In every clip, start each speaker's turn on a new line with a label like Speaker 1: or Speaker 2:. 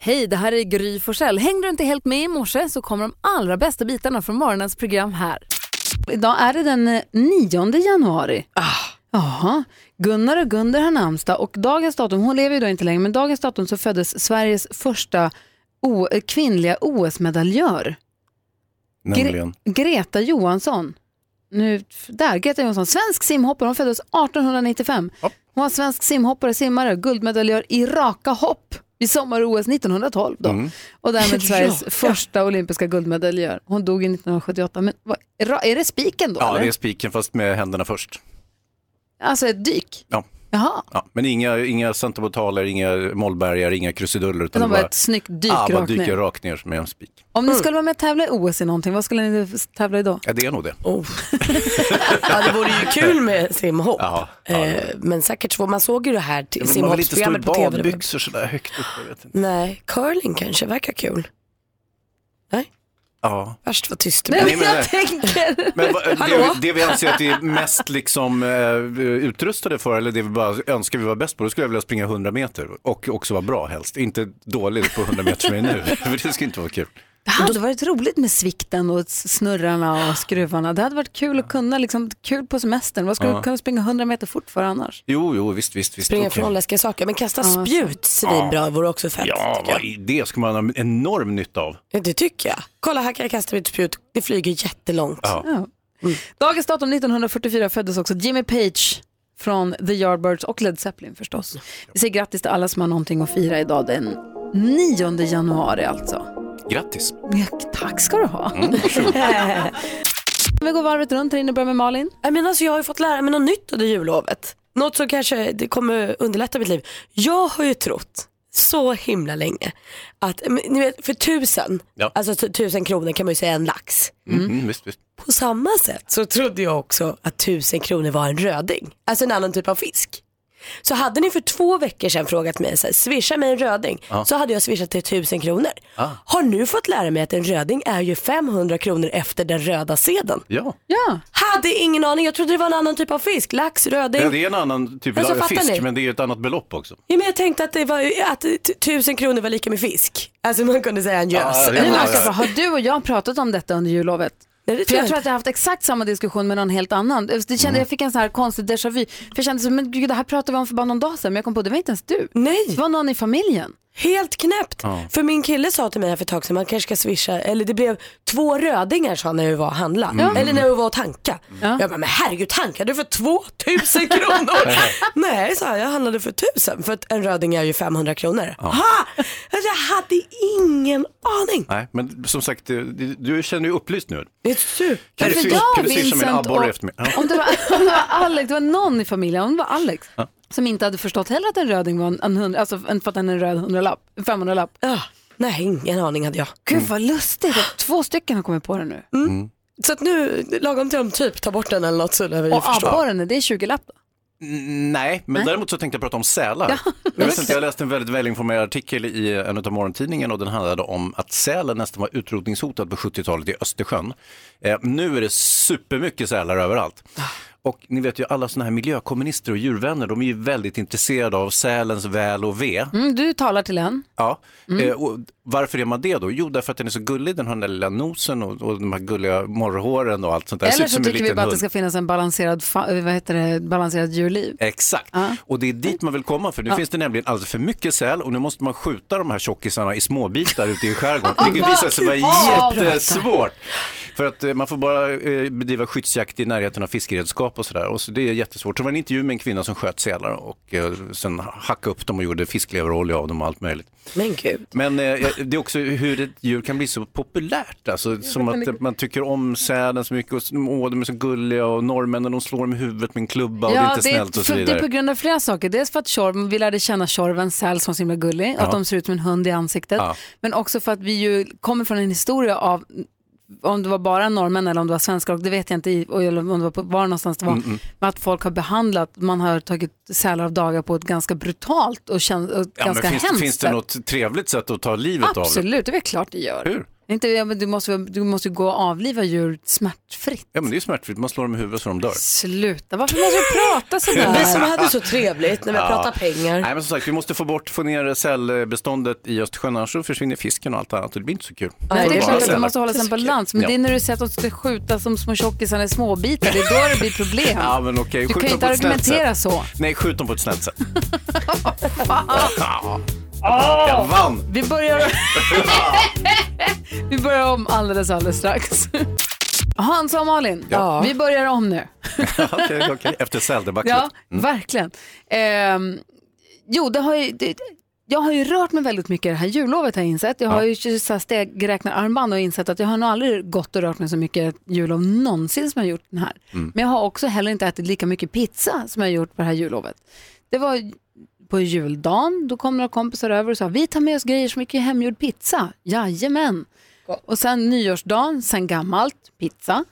Speaker 1: Hej, det här är Gry Forssell. Hängde du inte helt med i morse så kommer de allra bästa bitarna från morgonens program här. Idag är det den 9 januari.
Speaker 2: Ah,
Speaker 1: Jaha, Gunnar och Gunder har namnsdag och dagens datum, hon lever ju då inte längre, men dagens datum så föddes Sveriges första o- eh, kvinnliga OS-medaljör.
Speaker 2: Nämligen.
Speaker 1: Greta Johansson. Nu, där, Greta Johansson, svensk simhoppare, hon föddes 1895. Hon var svensk simhoppare, simmare, guldmedaljör i raka hopp i sommar-OS 1912 då.
Speaker 2: mm.
Speaker 1: Och därmed Sveriges första olympiska guldmedaljör. Hon dog i 1978, men vad, ra- är det spiken då?
Speaker 2: Ja,
Speaker 1: eller?
Speaker 2: det är spiken fast med händerna först.
Speaker 1: Alltså ett dyk?
Speaker 2: Ja.
Speaker 1: Jaha,
Speaker 2: Ja, men inga, inga centerbotaler, inga mollbergar, inga krusiduller.
Speaker 1: men
Speaker 2: Utan
Speaker 1: de
Speaker 2: det
Speaker 1: var ett snyggt dyk
Speaker 2: ah, bara
Speaker 1: rakt
Speaker 2: dyker
Speaker 1: ner.
Speaker 2: rakt ner med en spik.
Speaker 1: Om ni skulle vara med och tävla i OS i någonting, vad skulle ni tävla i då?
Speaker 2: Ja, det är nog det.
Speaker 3: Oh. ja, det vore ju kul med simhopp.
Speaker 2: Ja, ja, det
Speaker 3: Eh, Men säkert svårt. Man såg ju det här till-
Speaker 2: man vill inte stå i
Speaker 3: simhoppsprogrammet på tv.
Speaker 2: badbyxor sådär högt upp. Jag vet inte.
Speaker 3: Nej, curling kanske verkar kul. Nej,
Speaker 2: Ja.
Speaker 3: värst vad tyst Typ. det
Speaker 1: Nej,
Speaker 3: blev.
Speaker 1: men
Speaker 2: men
Speaker 1: jag
Speaker 2: nej.
Speaker 1: tänker...
Speaker 2: Men vad-
Speaker 3: Hallå?
Speaker 2: det, det vi anser att vi är mest liksom, eh, utrustade för, eller det vi bara önskar vi var bäst på, då skulle jag vilja springa 100 meter och också vara bra helst. Inte dålig på 100 meter som jag är nu, för det skulle inte vara kul.
Speaker 1: Det hade varit roligt med svikten och snurrarna och skruvarna. Det hade varit kul att kunna, liksom, kul på semestern. Vad skulle du kunna springa 100 meter fort för annars?
Speaker 2: Jo, jo, visst, visst, visst.
Speaker 3: Springa
Speaker 2: okej.
Speaker 3: från läskiga saker. Men kasta spjut svinbra vore också fett.
Speaker 2: Ja,
Speaker 3: tycker
Speaker 2: vad
Speaker 3: jag.
Speaker 2: är det skulle man ha en enorm nytta av.
Speaker 3: Ja, Det tycker jag. Kolla här kan jag kasta mitt spjut. Det flyger jättelångt.
Speaker 2: Ja.
Speaker 1: Ja. Dagens datum 1944 föddes också Jimmy Page från The Yardbirds och Led Zeppelin förstås. Vi säger grattis till alla som har någonting att fira idag den 9 januari alltså.
Speaker 2: Grattis.
Speaker 1: Ja, Tack ska du ha.
Speaker 2: Mm,
Speaker 1: Vi går varvet runt här inne och börjar med Malin.
Speaker 3: Jag, menar, alltså, jag har ju fått lära mig något nytt under jullovet. Något som kanske det kommer underlätta mitt liv. Jag har ju trott så himla länge att, men, ni vet för tusen,
Speaker 2: Ja.
Speaker 3: alltså tu- tusen kronor kan man ju säga en lax.
Speaker 2: Mm. Mm, visst, visst.
Speaker 3: På samma sätt så trodde jag också att tusen kronor var en röding, alltså en annan typ av fisk. Så hade ni för två veckor sedan frågat mig, så här, swisha mig en röding, så hade jag swishat till tusen kronor.
Speaker 2: Ah.
Speaker 3: Har nu fått lära mig att en röding är ju 500 kronor efter den röda sedeln.
Speaker 2: Ja.
Speaker 1: Ja,
Speaker 3: Hade ingen aning, jag trodde det var en annan typ av fisk. Lax, röding.
Speaker 2: Ja, det är en annan typ
Speaker 3: Alltså,
Speaker 2: av
Speaker 3: fattar
Speaker 2: fisk,
Speaker 3: ni?
Speaker 2: men det är ju ett annat belopp också.
Speaker 3: Ja, men jag tänkte att, det var, ju- att t- tusen kronor var lika med fisk. Alltså man kunde säga en gös.
Speaker 2: Ja, ja, ja.
Speaker 1: nu
Speaker 3: en lax.
Speaker 1: märker jag bra. alltså, Har du och jag pratat om detta under jullovet?
Speaker 3: Nej, det
Speaker 1: För
Speaker 3: tror jag Mm.
Speaker 1: jag tror att
Speaker 3: inte.
Speaker 1: jag har haft exakt samma diskussion med någon helt annan. Det kände, Jag fick en sån här konstig déjà vu. För jag kände så, men gud, det här pratade vi om för bara någon dag sedan, men jag kom på det var inte ens du. Det
Speaker 3: Nej,
Speaker 1: var någon i familjen.
Speaker 3: helt knäppt. För min kille sa till mig här för ett tag sedan, man kanske ska swisha, eller det blev två rödingar sa han när vi var och handla. Eller när vi var och tanka. Jag bara, men herregud tankade du för 2000 kronor? Nej, sa jag, jag handlade för 1000 för att en röding är ju 500 kronor. Ha! Alltså, jag hade ingen aning.
Speaker 2: Nej, men som sagt, det- det- du känner ju upplyst nu.
Speaker 3: Det är super.
Speaker 2: Kan
Speaker 1: För
Speaker 2: du,
Speaker 1: jag,
Speaker 2: kan du swisha mig en
Speaker 1: Vincent,
Speaker 2: abborre
Speaker 1: och-
Speaker 2: efter mig? Ja.
Speaker 1: Om det, var, om det var Alex, det var någon i familjen, om det var Alex, som inte hade förstått heller att en röding var en, en hundra, alltså en, för att den är en röd hundralapp, en 500-lapp.
Speaker 3: Ah, nej, ingen aning hade jag. Mm.
Speaker 1: Gud vad lustigt, att två stycken har kommit på det nu.
Speaker 3: Så att nu, lagom till de typ tar bort den eller något så lär vi ju
Speaker 1: Och
Speaker 3: förstå.
Speaker 1: abborren, det är 20-lapp då.
Speaker 2: Mm, Nej, men däremot så tänkte jag prata om sälar. jag, vet inte, jag läste en väldigt välinformerad artikel i en av morgontidningarna och den handlade om att sälen nästan var utrotningshotad på 70-talet i Östersjön. Eh, nu är det supermycket sälar överallt. Och ni vet ju alla sådana här miljökommunister och djurvänner, de är ju väldigt intresserade av sälens väl och ve.
Speaker 1: Mm, du talar till en.
Speaker 2: Ja. Eh, och varför är man det då? Jo, därför att den är så gullig, den har den där lilla nosen och, och de här gulliga morrhåren och allt sånt där. Ser
Speaker 1: Eller
Speaker 2: ut
Speaker 1: så
Speaker 2: som en
Speaker 1: tycker vi
Speaker 2: liten
Speaker 1: bara att
Speaker 2: hund.
Speaker 1: det ska finnas en balanserad, fa- eh, vad heter det, balanserad djurliv.
Speaker 2: Exakt, och det är dit man vill komma för nu finns det nämligen alldeles för mycket säl och nu måste man skjuta de här tjockisarna i småbitar ute i skärgården, vilket visar sig vara
Speaker 1: vad kul.
Speaker 2: jättesvårt. För att eh, man får bara eh, bedriva skyddsjakt i närheten av fiskeredskap och sådär och så det är jättesvårt. Så det var en intervju med en kvinna som sköt sälar och eh, sen hackade upp dem och gjorde fiskleverolja av dem och allt möjligt.
Speaker 3: Men gud.
Speaker 2: Men eh, jag- det är också hur ett djur kan bli så populärt. Alltså, som att eh, man tycker om sälen så mycket och så- åh, de är så gulliga och norrmännen de slår dem i huvudet med en klubba och det är inte snällt och så
Speaker 1: för, det är på
Speaker 2: vidare.
Speaker 1: grund av flera saker. Dels för att Tjorven, vi lärde känna Tjorven säl som så himla gullig, att de ser ut som en hund i ansiktet.
Speaker 2: Ja.
Speaker 1: Men också för att vi ju kommer från en historia av om det var bara norrmän eller om det var svenskar, och det vet jag inte, i- och- eller om det var på, var någonstans det var, men att folk har behandlat, man har tagit sälar av dagar på ett ganska brutalt och, kän, och
Speaker 2: Ja, men
Speaker 1: ganska
Speaker 2: finns,
Speaker 1: hemskt
Speaker 2: finns det
Speaker 1: sätt.
Speaker 2: något trevligt sätt att ta livet av det?
Speaker 1: Absolut, det är väl klart det gör.
Speaker 2: Hur?
Speaker 1: Inte, ja, men du, måste, du måste ju gå och avliva djur smärtfritt.
Speaker 2: Ja men det är ju smärtfritt, man slår dem i huvudet så de dör.
Speaker 1: Sluta, varför måste du prata sådär?
Speaker 3: Vi som hade så trevligt när vi pratade pengar.
Speaker 2: Nej men som sagt, vi måste få bort, få ner sälbeståndet i Östersjön, annars så försvinner fisken och allt annat och det blir inte så kul.
Speaker 1: Nej, det är
Speaker 2: Bara
Speaker 1: klart att det
Speaker 2: sälar.
Speaker 1: måste hållas en balans, men
Speaker 2: Ja.
Speaker 1: det är när du säger att de ska skjuta som små tjockisar i småbitar, det är då det blir problem.
Speaker 2: Ja men okej,
Speaker 1: Du
Speaker 2: skjut
Speaker 1: kan ju
Speaker 2: dem
Speaker 1: inte
Speaker 2: på ett snällt sätt.
Speaker 1: argumentera så.
Speaker 2: Nej, skjut dem på ett snällt sätt. Ja. Jag vann!
Speaker 1: Vi börjar, vi börjar om alldeles, alldeles strax. Hansa och Malin,
Speaker 3: Ja.
Speaker 1: vi börjar om nu.
Speaker 2: Okej, okej. Efter Mm. säldebaclet.
Speaker 1: Ja, verkligen. Ehm, jo, det har ju, det, jag har ju rört mig väldigt mycket det här jullovet har jag insett. Jag har ju så här stegräknararmband och insett att jag har nog aldrig gått och rört mig så mycket jullov någonsin som jag har gjort den här. Men jag har också heller inte ätit lika mycket pizza som jag har gjort på det här jullovet. Det var på juldagen, då kom några kompisar över och sa vi tar med oss grejer som mycket hemgjord pizza. Jajamän. Och sen nyårsdagen, sen gammalt, pizza.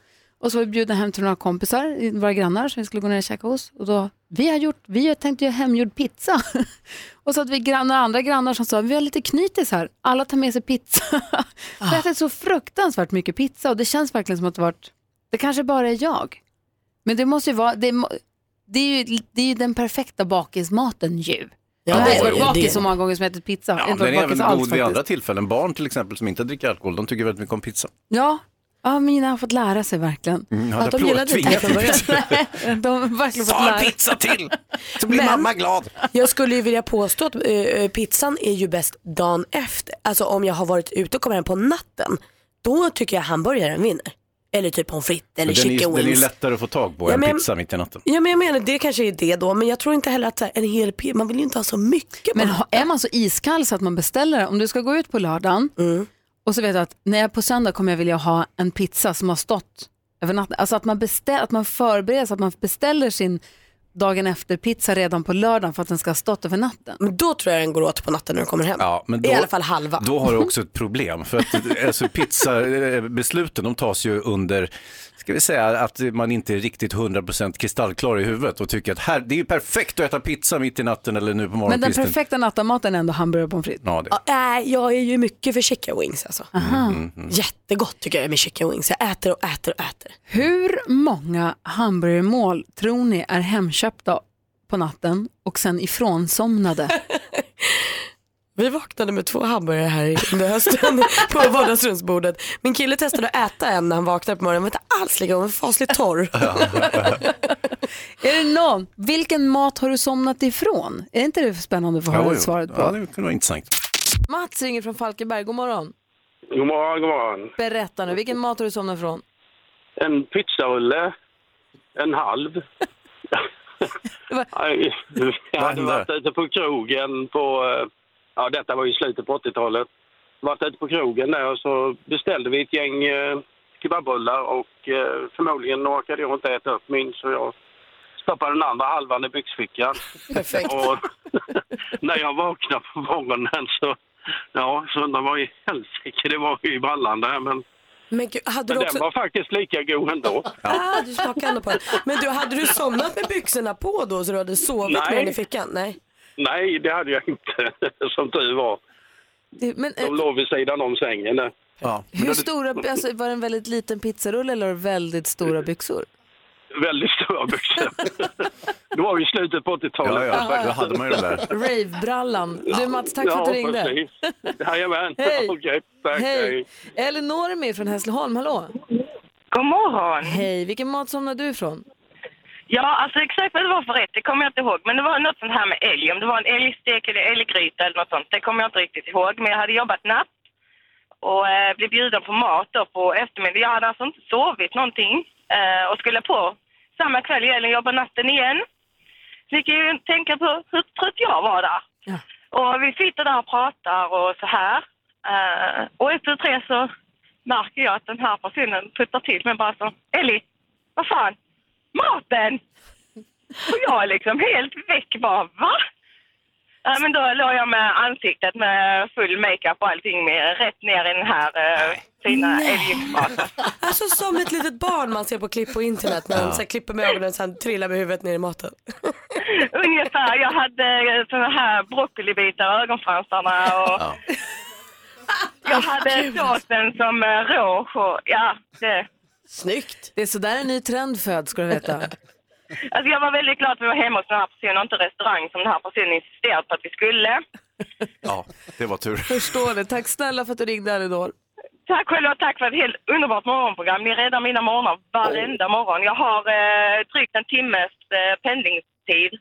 Speaker 1: Och så var vi bjudna hem till några kompisar, våra grannar som vi skulle gå ner och käka hos. Och då, vi har gjort, vi har tänkt göra hemgjord pizza. och så hade vi grannar, andra grannar som sa, vi har lite knytis här, alla tar med sig pizza. Vi har ätit så fruktansvärt mycket pizza och det känns verkligen som att det varit, det kanske bara är jag. Men det måste ju vara, det, må- det är ju, det är ju den perfekta bakismaten ju.
Speaker 3: Ja,
Speaker 1: jag har inte
Speaker 3: det är
Speaker 1: varit
Speaker 3: ju det.
Speaker 1: bakis så många gånger som jag ätit pizza.
Speaker 2: Ja,
Speaker 1: Inte
Speaker 2: den
Speaker 1: varit
Speaker 2: är
Speaker 1: bakis
Speaker 2: även
Speaker 1: alls
Speaker 2: god vid
Speaker 1: faktiskt.
Speaker 2: andra tillfällen. Barn till exempel som inte dricker alkohol, de tycker väldigt mycket om pizza.
Speaker 1: Ja. Ja, mina har fått lära sig verkligen.
Speaker 2: Mm, ja,
Speaker 1: att
Speaker 2: det
Speaker 1: de gillade
Speaker 2: applåd-
Speaker 1: inte det från
Speaker 2: tvingat
Speaker 1: början. Nej, de har verkligen fått lära sig.
Speaker 2: pizza till! Så blir
Speaker 3: Men-
Speaker 2: mamma glad.
Speaker 3: Jag skulle ju vilja påstå att eh, eh, pizzan är ju bäst dagen efter. Alltså om jag har varit ute och kommer hem på natten, då tycker jag hamburgaren vinner. Eller typ pommes frites eller
Speaker 2: Men den, är, ju-
Speaker 3: chicken
Speaker 2: den är ju
Speaker 3: wings.
Speaker 2: lättare att få tag på
Speaker 3: Ja,
Speaker 2: än
Speaker 3: men-
Speaker 2: pizza mitt i natten.
Speaker 3: Ja men jag menar det kanske är det då, men jag tror inte heller att så här, en hel pizza, man vill ju inte ha så mycket.
Speaker 1: Men
Speaker 3: på
Speaker 1: ha- är man så iskall så att man beställer, om du ska gå ut på lördagen
Speaker 3: Mm.
Speaker 1: och så vet du att när jag är på söndag kommer jag vilja ha en pizza som har stått över natten. Alltså att man, beställ, att man förbereder sig, att man beställer sin dagen efter pizza redan på lördagen för att den ska ha stått över natten.
Speaker 3: Men då tror jag den går åt på natten när du kommer hem.
Speaker 2: Ja, men
Speaker 3: I
Speaker 2: då-
Speaker 3: alla fall halva.
Speaker 2: Då har du också ett problem. För att alltså, pizzabesluten de tas ju under, ska vi säga att man inte är riktigt 100% kristallklar i huvudet och tycker att här, det är ju perfekt att äta pizza mitt i natten eller nu på
Speaker 1: Men den
Speaker 2: morgonkvisten.
Speaker 1: perfekta nattamaten är ändå hamburgare och pommes frites.
Speaker 2: Ja, det. Mm,
Speaker 3: Ja, nej, jag är ju mycket för chicken wings alltså. Jättegott tycker jag med chicken wings. Jag äter och äter och äter.
Speaker 1: Hur många hamburgermål tror ni är hemköpta på natten och sen ifrånsomnade?
Speaker 3: Vi vaknade med två hamburgare här under hösten på vardagsrumsbordet. Min kille testade att äta en när han vaknade på morgonen. Den var inte alls lika god, den var fasligt torr.
Speaker 1: är det någon? Vilken mat har du somnat ifrån? Är inte det spännande att få höra
Speaker 2: Ja, jo.
Speaker 1: svaret på?
Speaker 2: Ja, det kunde vara intressant.
Speaker 1: Mats ringer från Falkenberg, god morgon.
Speaker 4: God morgon, god morgon.
Speaker 1: Berätta nu, vilken mat har du somnat ifrån?
Speaker 4: En pizzarulle, en halv.
Speaker 1: var-
Speaker 4: Nej, Jag hade
Speaker 2: hände?
Speaker 4: varit ute på krogen på, eh, ja detta var ju slutet på 80-talet. Varit ute på krogen där och så beställde vi ett gäng eh, kebabbullar och eh, förmodligen orkade jag inte äta upp min så jag stoppade den andra halvan i byxfickan.
Speaker 3: Perfekt.
Speaker 4: Och när jag vaknade på morgonen så, ja, så undrar vad i helsike det var i brallan där men
Speaker 3: Men gud, hade
Speaker 4: men
Speaker 3: du
Speaker 4: den
Speaker 3: också...
Speaker 4: var faktiskt lika god ändå.
Speaker 3: Ah, du smakade ändå på den. Men du, hade du somnat med byxorna på då så du hade sovit
Speaker 4: Nej.
Speaker 3: med den i fickan? Nej.
Speaker 4: Nej, det hade jag inte, som tur var.
Speaker 1: Det- Men, eh,
Speaker 4: De låg vid sidan om sängen. där.
Speaker 2: Ja.
Speaker 1: hur stora, alltså, var det en väldigt liten pizzarulle eller väldigt stora byxor?
Speaker 4: Väldigt stora byxor. det var ju i slutet på 80-talet.
Speaker 2: Ja, ja, då hade man ju det där.
Speaker 1: Rave-brallan. Du Mats, tack för att du ringde.
Speaker 4: precis. Jajamän.
Speaker 1: Hej.
Speaker 4: Okej, tack.
Speaker 1: Hej! Elinor är med från Hässleholm, hallå!
Speaker 5: God morgon!
Speaker 1: Hej, vilken mat somnade du ifrån?
Speaker 5: Ja, alltså exakt vad det var för rätt, det kommer jag inte ihåg. Men det var något sånt här med älg, om det var en älgstek eller älggryta eller något sånt, det kommer jag inte riktigt ihåg. Men jag hade jobbat natt och eh, blev bjuden på mat då på eftermiddagen. Jag hade alltså inte sovit någonting eh, och skulle på samma kväll igen och jobba natten igen. Så gick jag ju och tänka på hur trött jag var där.
Speaker 1: Ja.
Speaker 5: Och vi sitter där och pratar och så här. Eh, och efter tre så märker jag att den här personen puttar till mig bara så. Ellie, vad fan? Maten! Och jag är liksom helt väck bara, va? Ja, men då låg jag med ansiktet med full makeup och allting med, rätt ner i den här eh, fina älgmaten.
Speaker 3: Alltså som ett litet barn man ser på klipp på internet när de så här, klipper med ögonen och sen trillar med huvudet ner i maten.
Speaker 5: Ungefär, jag hade eh, såna här broccolibitar i ögonfransarna och... Jag jag hade såsen som eh, rouge och ja, det.
Speaker 3: Snyggt.
Speaker 1: Det är sådär en ny trend föds, ska du veta.
Speaker 5: Alltså jag var väldigt glad att vi var hemma hos den här personen och inte restaurang som den här personen insisterade på att vi skulle.
Speaker 2: Ja, det var tur.
Speaker 1: Förstår det. Tack snälla för att du ringde, Elinor.
Speaker 5: Tack själva och tack för ett helt underbart morgonprogram. Ni räddar mina morgnar varenda morgon. Jag har eh, drygt en timmes eh, pendlingstid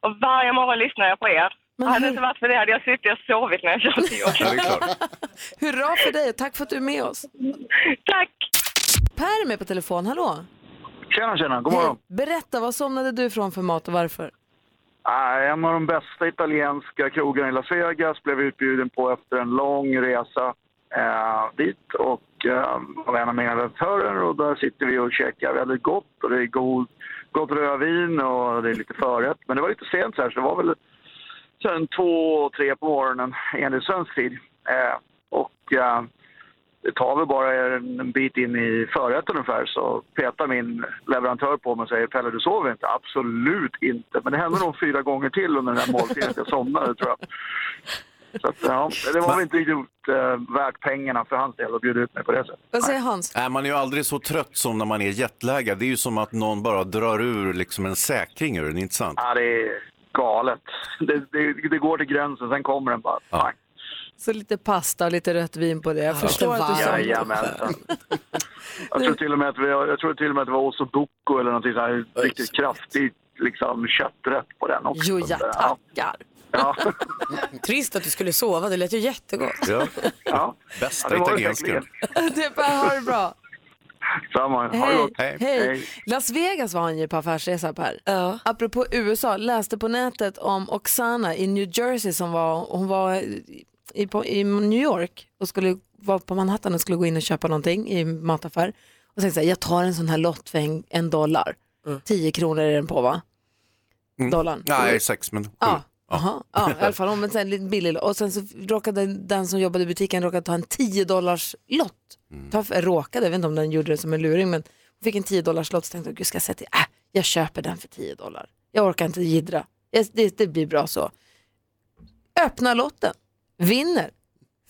Speaker 5: och varje morgon lyssnar jag på er. hade det inte varit för det hade jag suttit och sovit när jag körde till jobbet.
Speaker 1: Hurra för dig och tack för att du är med oss.
Speaker 5: Tack!
Speaker 1: Per är med på telefon, hallå.
Speaker 6: Tjena, tjena. God morgon.
Speaker 1: Berätta, vad somnade du från för mat och varför?
Speaker 6: Ah, en av de bästa italienska krogarna i Las Vegas blev utbjuden på efter en lång resa eh, dit och eh, av en av mina redaktörer och där sitter vi och käkar väldigt gott och det är god, gott rödvin och det är lite förrätt. Men det var lite sent så här så det var väl sen två, tre på morgonen enligt svensk tid. Eh, och eh, det tar väl bara en en bit in i förrätten ungefär så petar min leverantör på mig och säger Pelle du sover inte? Absolut inte. Men det hände nog fyra gånger till under den här måltiden att jag somnade tror jag. Så att, ja, det var väl inte riktigt eh, värt pengarna för hans del att bjuda ut mig på det sättet.
Speaker 1: Vad säger Hans?
Speaker 2: Nej, man är ju aldrig så trött som när man är jetlaggad. Det är ju som att någon bara drar ur liksom en säkring ur den, inte sant?
Speaker 6: Ja, det är galet. Det, det, det går till gränsen, sen kommer den bara. Ja.
Speaker 1: Så lite pasta och lite rött vin på det. Jag förstår
Speaker 6: lite
Speaker 1: att du somnade.
Speaker 6: Jajamensan. Jag tror till och med att, vi, jag tror till och med att det var ossobuco eller någonting så här riktigt kraftigt liksom, kötträtt på den också.
Speaker 1: Jo, ja, tackar.
Speaker 6: Ja.
Speaker 3: Trist att du skulle sova, det lät ju jättegott.
Speaker 2: Ja.
Speaker 6: ja.
Speaker 2: Bästa
Speaker 6: Ja, det var det
Speaker 2: italienska.
Speaker 1: Det är bara, ha det bra.
Speaker 6: Samma. Ha det
Speaker 1: Hej.
Speaker 6: gott.
Speaker 2: Hej.
Speaker 1: Hej. Las Vegas var han ju på affärsresa Per.
Speaker 3: Ja.
Speaker 1: Apropå USA, läste på nätet om Oksana i New Jersey som var, hon var i, på, i New York och skulle vara på Manhattan och skulle gå in och köpa någonting i en mataffär. Och tänkte så här, jag tar en sån här lott för en, en dollar. 10 kronor är den på va? Dollarn.
Speaker 2: Mm. Nej, sex, men sju.
Speaker 1: Ja. Aha, ja, i alla fall. Om en sån här liten billig lott. Och sen så råkade den som jobbade i butiken råkade ta en 10 dollars lott.
Speaker 3: Mm.
Speaker 1: Ta, råkade, jag vet inte om den gjorde det som en luring, men hon fick en 10 dollars lott så tänkte jag, gud ska jag säga till, äh, jag köper den för 10 dollar. Jag orkar inte jiddra. Jag, det, det blir bra så. Öppna lotten, vinner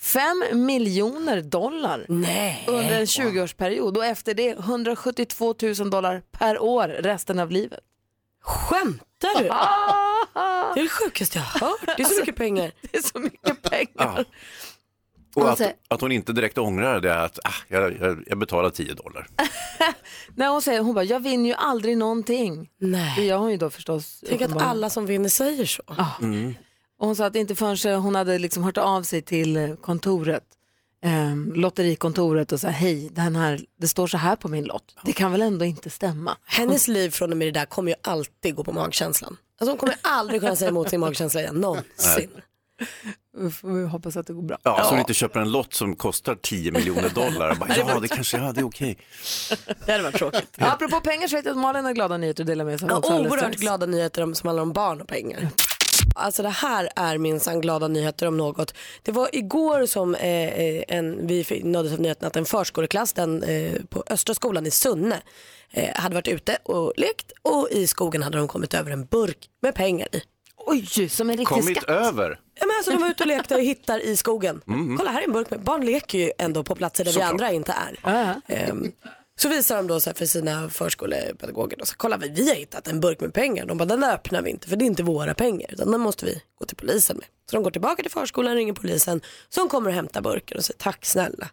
Speaker 1: 5 miljoner dollar under en 20-årsperiod och efter det 172 000 dollar per år resten av livet.
Speaker 3: Skämtar du? Det är det sjukaste jag har hört. Det är så mycket pengar.
Speaker 1: Alltså, Det är så mycket pengar.
Speaker 2: Och att,
Speaker 1: Alltså-
Speaker 2: att hon inte direkt ångrar det är att ah, jag, jag, jag betalar 10 dollar.
Speaker 3: Ah,
Speaker 1: Nej, hon säger, hon bara, jag vinner ju aldrig någonting. Det
Speaker 3: Nej.
Speaker 1: gör hon ju då förstås.
Speaker 3: Tänk att
Speaker 1: uppenbarligen.
Speaker 3: alla som vinner säger så.
Speaker 1: Och hon sa att inte förrän hon hade liksom hört av sig till eh, kontoret, eh, lotterikontoret och sa, hej, den här, det står så här på min lott. Det kan väl ändå inte stämma?
Speaker 3: Hennes liv från och med det där kommer ju alltid gå på magkänslan. Alltså hon kommer aldrig kunna säga emot sin magkänsla igen, någonsin.
Speaker 1: Vi får- Vi hoppas att det går bra.
Speaker 2: Ja, Så hon inte köper en lott som kostar 10 miljoner dollar. Bara, ja, det kanske ja, det är okej.
Speaker 3: Det hade varit tråkigt.
Speaker 1: Apropå pengar så vet jag att Malin har glada nyheter att dela med sig av
Speaker 3: Ja,
Speaker 1: också alldeles
Speaker 3: oerhört
Speaker 1: strax.
Speaker 3: glada nyheter om, som handlar om barn och pengar. Alltså det här är minsann glada nyheter om något. Det var igår som eh, eh, en, vi fick- nåddes av nyheten att en förskoleklass den, eh, på Östra skolan i Sunne eh, hade varit ute och lekt och i skogen hade de kommit över en burk med pengar i.
Speaker 1: Oj, som en riktig
Speaker 2: Kommit
Speaker 1: skatt.
Speaker 2: över.
Speaker 3: Ja, men alltså, de var ute och lekte och hittar i skogen.
Speaker 2: Mhm.
Speaker 3: Kolla här är en burk med, barn leker ju ändå på platser där vi andra inte är. Ehm, så visar de då så här för sina förskolepedagoger, då, så här, kolla vi, vi har hittat en burk med pengar. De bara, den där öppnar vi inte för det är inte våra pengar utan den måste vi gå till polisen med. Så de går tillbaka till förskolan, ringer polisen som kommer och hämtar burken och säger tack snälla.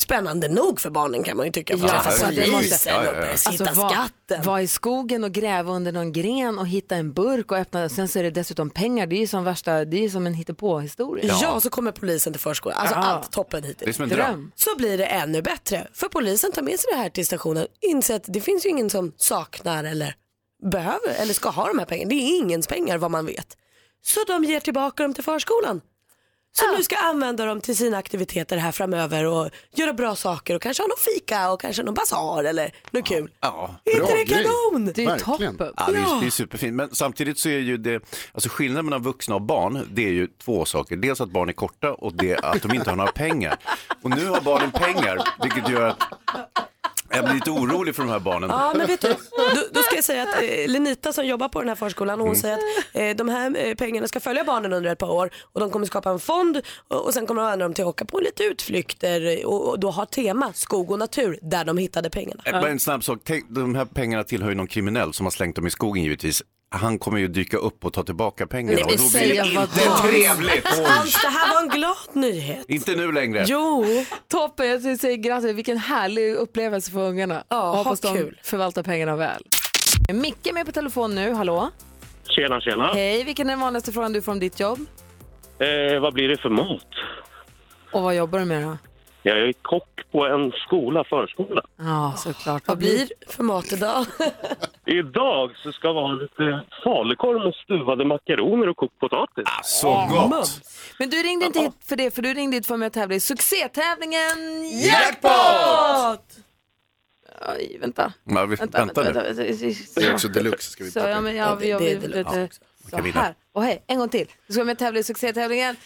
Speaker 3: Spännande nog för barnen kan man ju tycka.
Speaker 1: Ja,
Speaker 3: Ja,
Speaker 1: alltså, det
Speaker 3: polisen
Speaker 1: måste-
Speaker 2: Ja, ja, ja.
Speaker 3: och börjar
Speaker 1: Alltså,
Speaker 3: hitta
Speaker 1: var-
Speaker 3: skatten.
Speaker 1: Var i skogen och gräva under någon gren och hitta en burk och öppna. Sen så är det dessutom pengar. Det är ju som, värsta, det är ju som en hittepåhistoria.
Speaker 3: Ja. så kommer polisen till förskolan. Alltså
Speaker 1: Ja.
Speaker 3: allt toppen hittills.
Speaker 2: Det är som en dröm.
Speaker 1: Dröm.
Speaker 3: så blir det ännu bättre. För polisen tar med sig det här till stationen, inser att det finns ju ingen som saknar eller behöver eller ska ha de här pengarna. Det är ingens pengar vad man vet. Så de ger tillbaka dem till förskolan. Så nu ska använda dem till sina aktiviteter här framöver och göra bra saker och kanske ha någon fika och kanske någon basar eller något kul.
Speaker 2: Ja,
Speaker 3: Är
Speaker 2: bra.
Speaker 3: inte det
Speaker 7: grej.
Speaker 3: kanon?
Speaker 1: Det är ju
Speaker 7: Verkligen.
Speaker 1: toppen.
Speaker 2: Ja, det, är, det är superfint. Men samtidigt så är ju det, alltså skillnaden mellan vuxna och barn, det är ju två saker. Dels att barn är korta och det att de inte har några pengar. Och nu har barnen pengar, vilket gör att Jag blir lite orolig för de här barnen.
Speaker 3: Ja, men vet du, då, då ska jag säga att eh, Lenita som jobbar på den här förskolan, hon
Speaker 2: Mm.
Speaker 3: säger att eh, de här eh, pengarna ska följa barnen under ett par år och de kommer skapa en fond och, och sen kommer de använda dem till att åka på lite utflykter och, och då har tema skog och natur där de hittade pengarna.
Speaker 2: Eh, Bara en snabb sak, Tänk, de här pengarna tillhör ju någon kriminell som har slängt dem i skogen givetvis. Han kommer ju dyka upp och ta tillbaka pengarna
Speaker 3: Nej,
Speaker 2: och
Speaker 3: men
Speaker 2: då blir
Speaker 3: säga
Speaker 2: det
Speaker 3: vad
Speaker 2: inte
Speaker 3: då?
Speaker 2: trevligt. Oj.
Speaker 3: Hans, det här var en glad nyhet.
Speaker 2: Inte nu längre.
Speaker 3: Jo.
Speaker 1: Toppen, jag säger grattis. Vilken härlig upplevelse för ungarna. Ja, hoppas
Speaker 8: ha
Speaker 1: de
Speaker 8: kul.
Speaker 1: förvaltar pengarna väl. Micke är med på telefon nu, hallå.
Speaker 9: Tjena, tjena.
Speaker 1: Hej, vilken är den vanligaste frågan du får om ditt jobb?
Speaker 9: Eh, vad blir det för mat?
Speaker 1: Och vad jobbar du med då?
Speaker 9: Jag är kock på en skola, förskola.
Speaker 1: Ja, såklart.
Speaker 9: Vad blir
Speaker 3: för mat idag?
Speaker 9: Idag så ska det vara lite falukorv med stuvade makaroner och kokt potatis.
Speaker 2: Så
Speaker 1: Men du ringde inte hit för det, för du ringde hit för att vara med och tävla i succétävlingen
Speaker 10: Jackpot!
Speaker 1: Oj, vänta.
Speaker 2: Ja, vi, vänta,
Speaker 1: vänta,
Speaker 2: nu.
Speaker 1: vänta.
Speaker 2: Det är också deluxe. Ska vi
Speaker 1: Så, ja, men jag, jag, jag, jag, så
Speaker 2: kan vinna.
Speaker 1: här. Och hej, en gång till. Du ska vara med och tävla i succétävlingen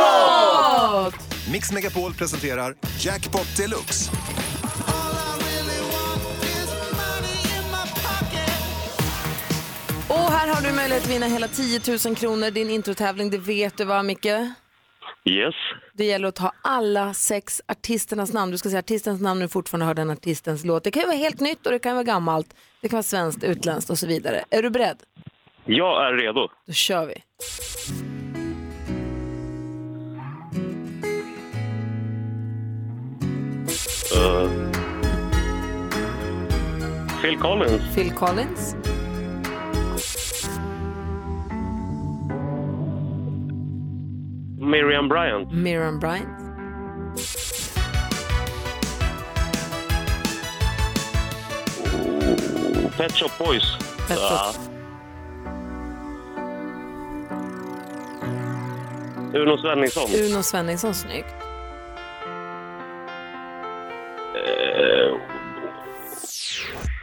Speaker 11: Jackpot! Mix Megapol presenterar Jackpot Deluxe.
Speaker 1: Och här har du möjlighet att vinna hela 10 000 kronor, din introtävling. Det vet du va, Micke?
Speaker 9: Yes.
Speaker 1: Det gäller att ta alla sex artisternas namn. Du ska säga artistens namn när du fortfarande hör den artistens låt. Det kan ju vara helt nytt och det kan ju vara gammalt. Det kan vara svenskt, utländskt och så vidare. Är du beredd?
Speaker 9: Jag är redo.
Speaker 1: Då kör vi.
Speaker 9: Eh, Phil Collins.
Speaker 1: Phil Collins,
Speaker 9: Miriam Bryant.
Speaker 1: Miriam Bryant,
Speaker 9: Pet Shop Boys. Ah.
Speaker 1: Pet Shop.
Speaker 9: Ja. Uno Svenningsson.
Speaker 1: Uno Svenningsson, snyggt.
Speaker 9: Eh,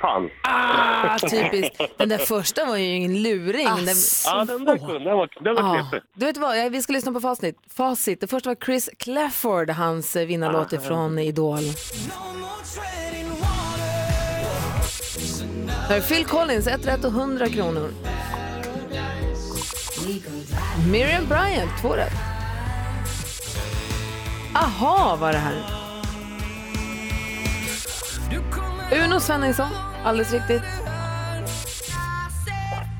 Speaker 9: fan.
Speaker 1: Ah, typiskt. Den där första var ju ingen luring. Den,
Speaker 9: Ja, Ah, den där kunde. Den var, den var
Speaker 1: Ah,
Speaker 9: knepig.
Speaker 1: du vet vad, jag- vi ska lyssna på facit. facit. Det första var Chris Clafford, hans eh, vinnarlåt ifrån Idol. Här är Phil Collins, ett rätt och 100 kronor. Miriam Bryant, två rätt. Aha var det här. Uno Svenningsson, alldeles riktigt.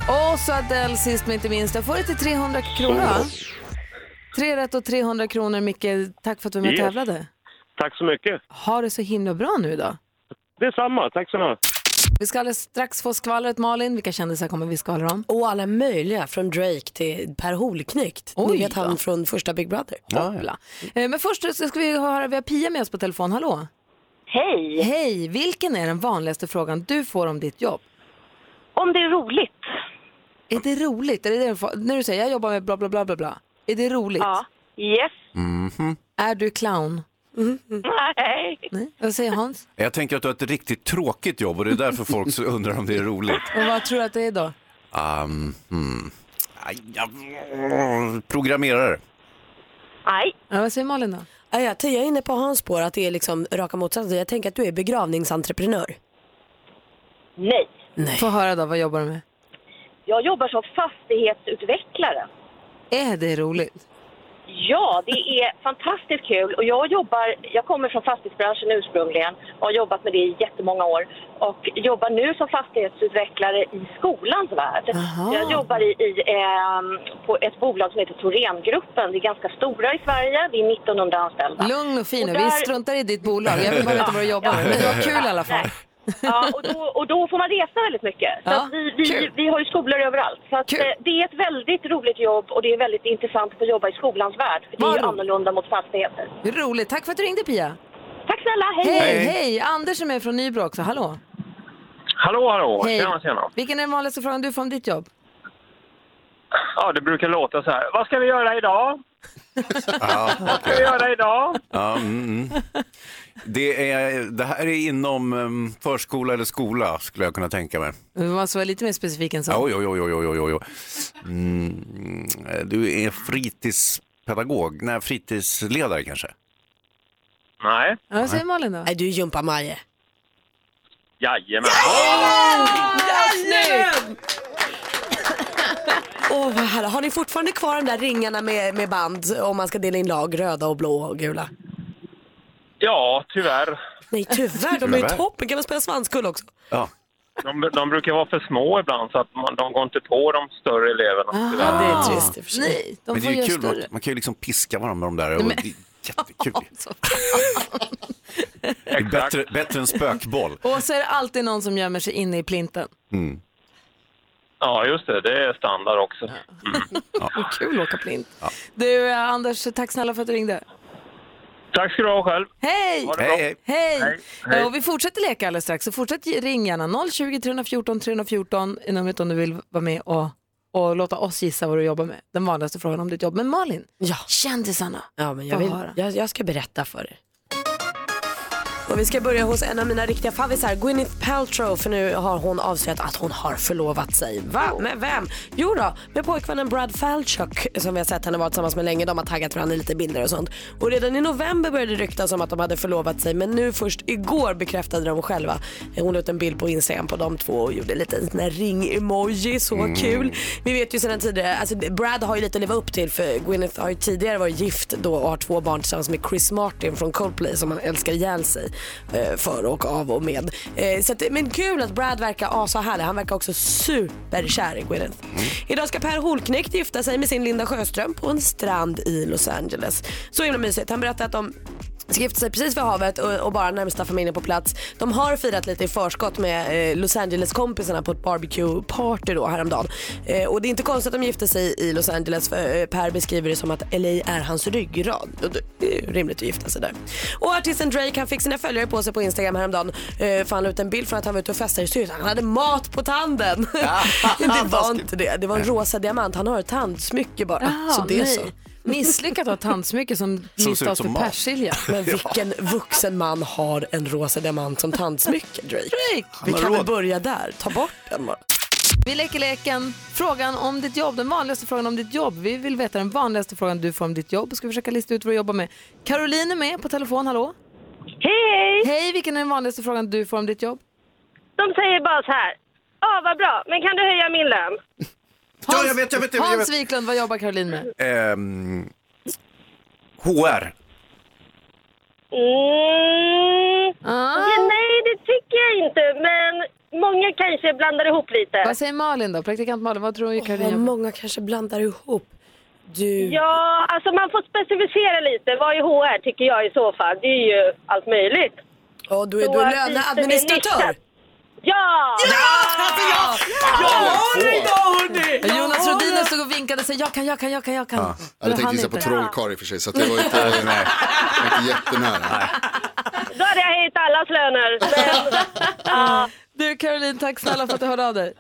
Speaker 1: Och så Adele sist men inte minst. Jag får det till 300 kronor. va? Tre rätt och 300 kronor, Micke. Tack för att du var med och
Speaker 9: Yes.
Speaker 1: tävlade.
Speaker 9: Tack så mycket.
Speaker 1: Ha det så himla bra nu då.
Speaker 9: Detsamma. Tack så mycket.
Speaker 1: Vi ska alldeles strax få skvallret, Malin. Vilka kändisar kommer vi skvallra om?
Speaker 3: Och alla möjliga, från Drake till Per Holknekt. Ni
Speaker 1: Oj
Speaker 3: vet
Speaker 1: då.
Speaker 3: han från första Big Brother.
Speaker 1: Hoppla. Eh, Men först så ska vi höra, vi har Pia med oss på telefon. Hallå?
Speaker 12: Hej!
Speaker 1: Hej! Vilken är den vanligaste frågan du får om ditt jobb?
Speaker 12: Om det är roligt.
Speaker 1: Är det roligt? Är det det du får- när du säger jag jobbar med bla bla bla bla bla. Är det roligt? Ja.
Speaker 12: Yes.
Speaker 2: Mhm.
Speaker 1: Är du clown? Mm,
Speaker 12: Nej.
Speaker 1: Nej. Vad säger Hans?
Speaker 2: Jag tänker att du har ett riktigt tråkigt jobb och det är därför folk så undrar om det är roligt.
Speaker 1: Och vad tror du att det är då?
Speaker 2: Um, mm. Aj, ja, programmerare.
Speaker 12: Nej.
Speaker 1: Ja, vad säger Malin då?
Speaker 3: Ja, jag, jag är inne på Hans spår att det är liksom raka motsatsen. Jag tänker att du är begravningsentreprenör.
Speaker 12: Nej.
Speaker 1: Få höra då, vad jobbar du med?
Speaker 12: Jag jobbar som fastighetsutvecklare.
Speaker 1: Är det roligt?
Speaker 12: Ja, det är fantastiskt kul och jag jobbar, jag kommer från fastighetsbranschen ursprungligen och har jobbat med det i jättemånga år och jobbar nu som fastighetsutvecklare i skolans värld.
Speaker 13: Aha.
Speaker 12: Jag jobbar i, i, ehm, på ett bolag som heter Thorengruppen. Det är ganska stora i Sverige, det är 1900 anställda.
Speaker 1: Lugn och fin.
Speaker 12: Och
Speaker 1: och Vi
Speaker 12: där-
Speaker 1: struntar i ditt bolag. Jag vill bara veta vad du jobbar med. Men det var kul i alla fall.
Speaker 12: Ja, och då, och då får man resa väldigt mycket. Så
Speaker 1: Ja,
Speaker 12: att vi, vi, vi har ju skolor överallt. Så att, eh, det är ett väldigt roligt jobb och det är väldigt intressant att få jobba i skolans värld. För det är ju annorlunda mot
Speaker 1: Mm.
Speaker 12: fastigheter.
Speaker 1: Roligt. Tack för att du ringde Pia.
Speaker 12: Tack snälla, hej!
Speaker 1: Hej, hej. Anders som är från Nybro också. Hallå.
Speaker 9: Hallå, hallå!
Speaker 1: Hej.
Speaker 9: Tjena, tjena.
Speaker 1: Vilken är den vanligaste frågan du får om ditt jobb?
Speaker 9: Ja, det brukar låta så här. Vad ska vi göra idag? Vad ska vi göra idag?
Speaker 2: Ja, mm, mm. Det, är, det här är inom um, förskola eller skola skulle jag kunna tänka mig.
Speaker 1: Du måste vara lite mer specifik än så.
Speaker 2: Ja, Oj, oj, oj, oj, oj, oj, oj. Mm, du är fritidspedagog, nej fritidsledare kanske?
Speaker 9: Nej.
Speaker 1: Ja, vad säger Malin då?
Speaker 3: Nej, du är Jumpa Maje.
Speaker 9: Jajamän!
Speaker 3: Snyggt! Åh, vad härligt. Har ni fortfarande kvar de där ringarna med, med band om man ska dela in lag, röda och blå och gula?
Speaker 9: Ja, tyvärr.
Speaker 3: Nej, tyvärr. De är ju
Speaker 9: Tyvärr.
Speaker 3: toppen. Kan man spela svanskul också?
Speaker 2: Ja.
Speaker 9: De, de brukar vara för små ibland så att man, de går inte på de större eleverna. tyvärr.
Speaker 1: i och för sig. Nej, de
Speaker 2: Men det
Speaker 1: får
Speaker 2: är ju
Speaker 1: göra
Speaker 2: kul, man,
Speaker 1: större.
Speaker 2: man kan ju liksom piska varandra med de där. Och
Speaker 1: Men-
Speaker 2: det är jättekul. Det är bättre, bättre än spökboll.
Speaker 1: Och så är det alltid någon som gömmer sig inne i plinten.
Speaker 9: Ja, just det. Det är standard också. Mm.
Speaker 1: Vad kul att åka plint. Du, eh, Anders, tack snälla för att du ringde.
Speaker 9: Tack ska du ha själv.
Speaker 1: Hej!
Speaker 9: Ha det bra. Hej,
Speaker 1: Hej!
Speaker 9: Hej, hej.
Speaker 1: Eh, Och vi fortsätter leka alldeles strax, så fortsätt ge- ring gärna. 020 314 314 är numret om du vill vara med och, och låta oss gissa vad du jobbar med. Den vanligaste frågan om ditt jobb. Men Malin, ja. kändisarna.
Speaker 3: Ja, men jag,
Speaker 1: Få
Speaker 3: vill,
Speaker 1: höra.
Speaker 3: jag, jag ska berätta för er. Och vi ska börja hos en av mina riktiga favvisar, Gwyneth Paltrow, för nu har hon avslöjat att hon har förlovat sig. Va? Med vem? Jo då, med pojkvännen Brad Falchuk som vi har sett henne vara tillsammans med länge. De har taggat varandra i lite bilder och sånt. Och redan i november började det ryktas om att de hade förlovat sig men nu först igår bekräftade de själva. Hon la ut en bild på Instagram på de två och gjorde lite sån här ring-emoji, så
Speaker 12: Mm.
Speaker 3: kul. Vi vet ju sedan tidigare, alltså Brad har ju lite att leva upp till för Gwyneth har ju tidigare varit gift då och har två barn tillsammans med Chris Martin från Coldplay som han älskar ihjäl sig eh, för och av och med. Eh, så att, men kul att Brad verkar ashärlig, han verkar också superkär i Gwyneth. Idag ska Per Holknekt gifta sig med sin Linda Sjöström på en strand i Los Angeles. Så himla mysigt, han berättar att de ska gifta sig precis vid havet och, och bara närmsta familjen på plats. De har firat lite i förskott med eh, Los Angeles-kompisarna på ett barbecue-party då häromdagen. Eh, och det är inte konstigt att de gifte sig i Los Angeles för eh, Per beskriver det som att LA är hans ryggrad. Och det- det är ju rimligt att gifta sig där. Och artisten Drake han fick sina följare på sig på Instagram häromdagen eh, för han la ut en bild från att han var ute och festade i studion. Han hade mat på tanden. det var inte det. Det var en rosa diamant. Han har ett tandsmycke bara.
Speaker 1: Ah,
Speaker 3: så det är
Speaker 1: nej.
Speaker 3: så.
Speaker 1: Misslyckat att ha ett tandsmycke som
Speaker 3: Som
Speaker 1: knyts
Speaker 3: ser ut
Speaker 1: av
Speaker 3: som
Speaker 1: till
Speaker 3: mat.
Speaker 1: persilja.
Speaker 3: Men vilken vuxen man har en rosa diamant som tandsmycke, Drake?
Speaker 1: Han
Speaker 3: Vi
Speaker 1: har
Speaker 3: kan väl
Speaker 1: råd.
Speaker 3: börja där, ta bort den bara.
Speaker 1: Vi leker leken frågan om ditt jobb, den vanligaste frågan om ditt jobb. Vi vill veta den vanligaste frågan du får om ditt jobb. Ska försöka lista ut vad du jobbar med. Caroline är med på telefon, hallå?
Speaker 13: Hej!
Speaker 1: Hej, vilken är den vanligaste frågan du får om ditt jobb?
Speaker 13: De säger bara så här. Ja, vad bra, men kan du höja min lön?
Speaker 2: Ja, jag vet, jag vet, jag vet.
Speaker 1: Hans Wiklund, vad jobbar Caroline med?
Speaker 2: Ehm, HR.
Speaker 13: Mm.
Speaker 1: Ah.
Speaker 13: Ja, nej, det tycker jag inte, men många kanske blandar ihop lite.
Speaker 1: Vad säger Malin då? Praktikant Malin, vad tror du Caroline
Speaker 13: vad
Speaker 1: jobbar med?
Speaker 3: Många kanske blandar ihop. Du...
Speaker 13: Ja, alltså man får specificera lite. Vad är HR tycker jag i så fall? Det är ju allt möjligt.
Speaker 3: Ja, du är-
Speaker 13: Så
Speaker 3: du är
Speaker 13: att vi-
Speaker 3: löneadministratör.
Speaker 13: det är nytt- Ja!
Speaker 3: Ja!
Speaker 1: Jag har
Speaker 14: det idag,
Speaker 3: hörni!
Speaker 14: Jag
Speaker 1: Jonas
Speaker 14: har
Speaker 1: Rhodiner
Speaker 14: det.
Speaker 1: stod och vinkade och sa jag kan, jag kan, jag kan, jag kan.
Speaker 14: Ja.
Speaker 1: Men
Speaker 14: Jag tänkte
Speaker 1: han
Speaker 14: gissa på
Speaker 1: inte.
Speaker 14: trollkarl i och för sig, så att det var inte, inte jättenära.
Speaker 13: Då hade jag höjt allas löner. Men... ja.
Speaker 1: Du Caroline, tack snälla för att du hörde av dig.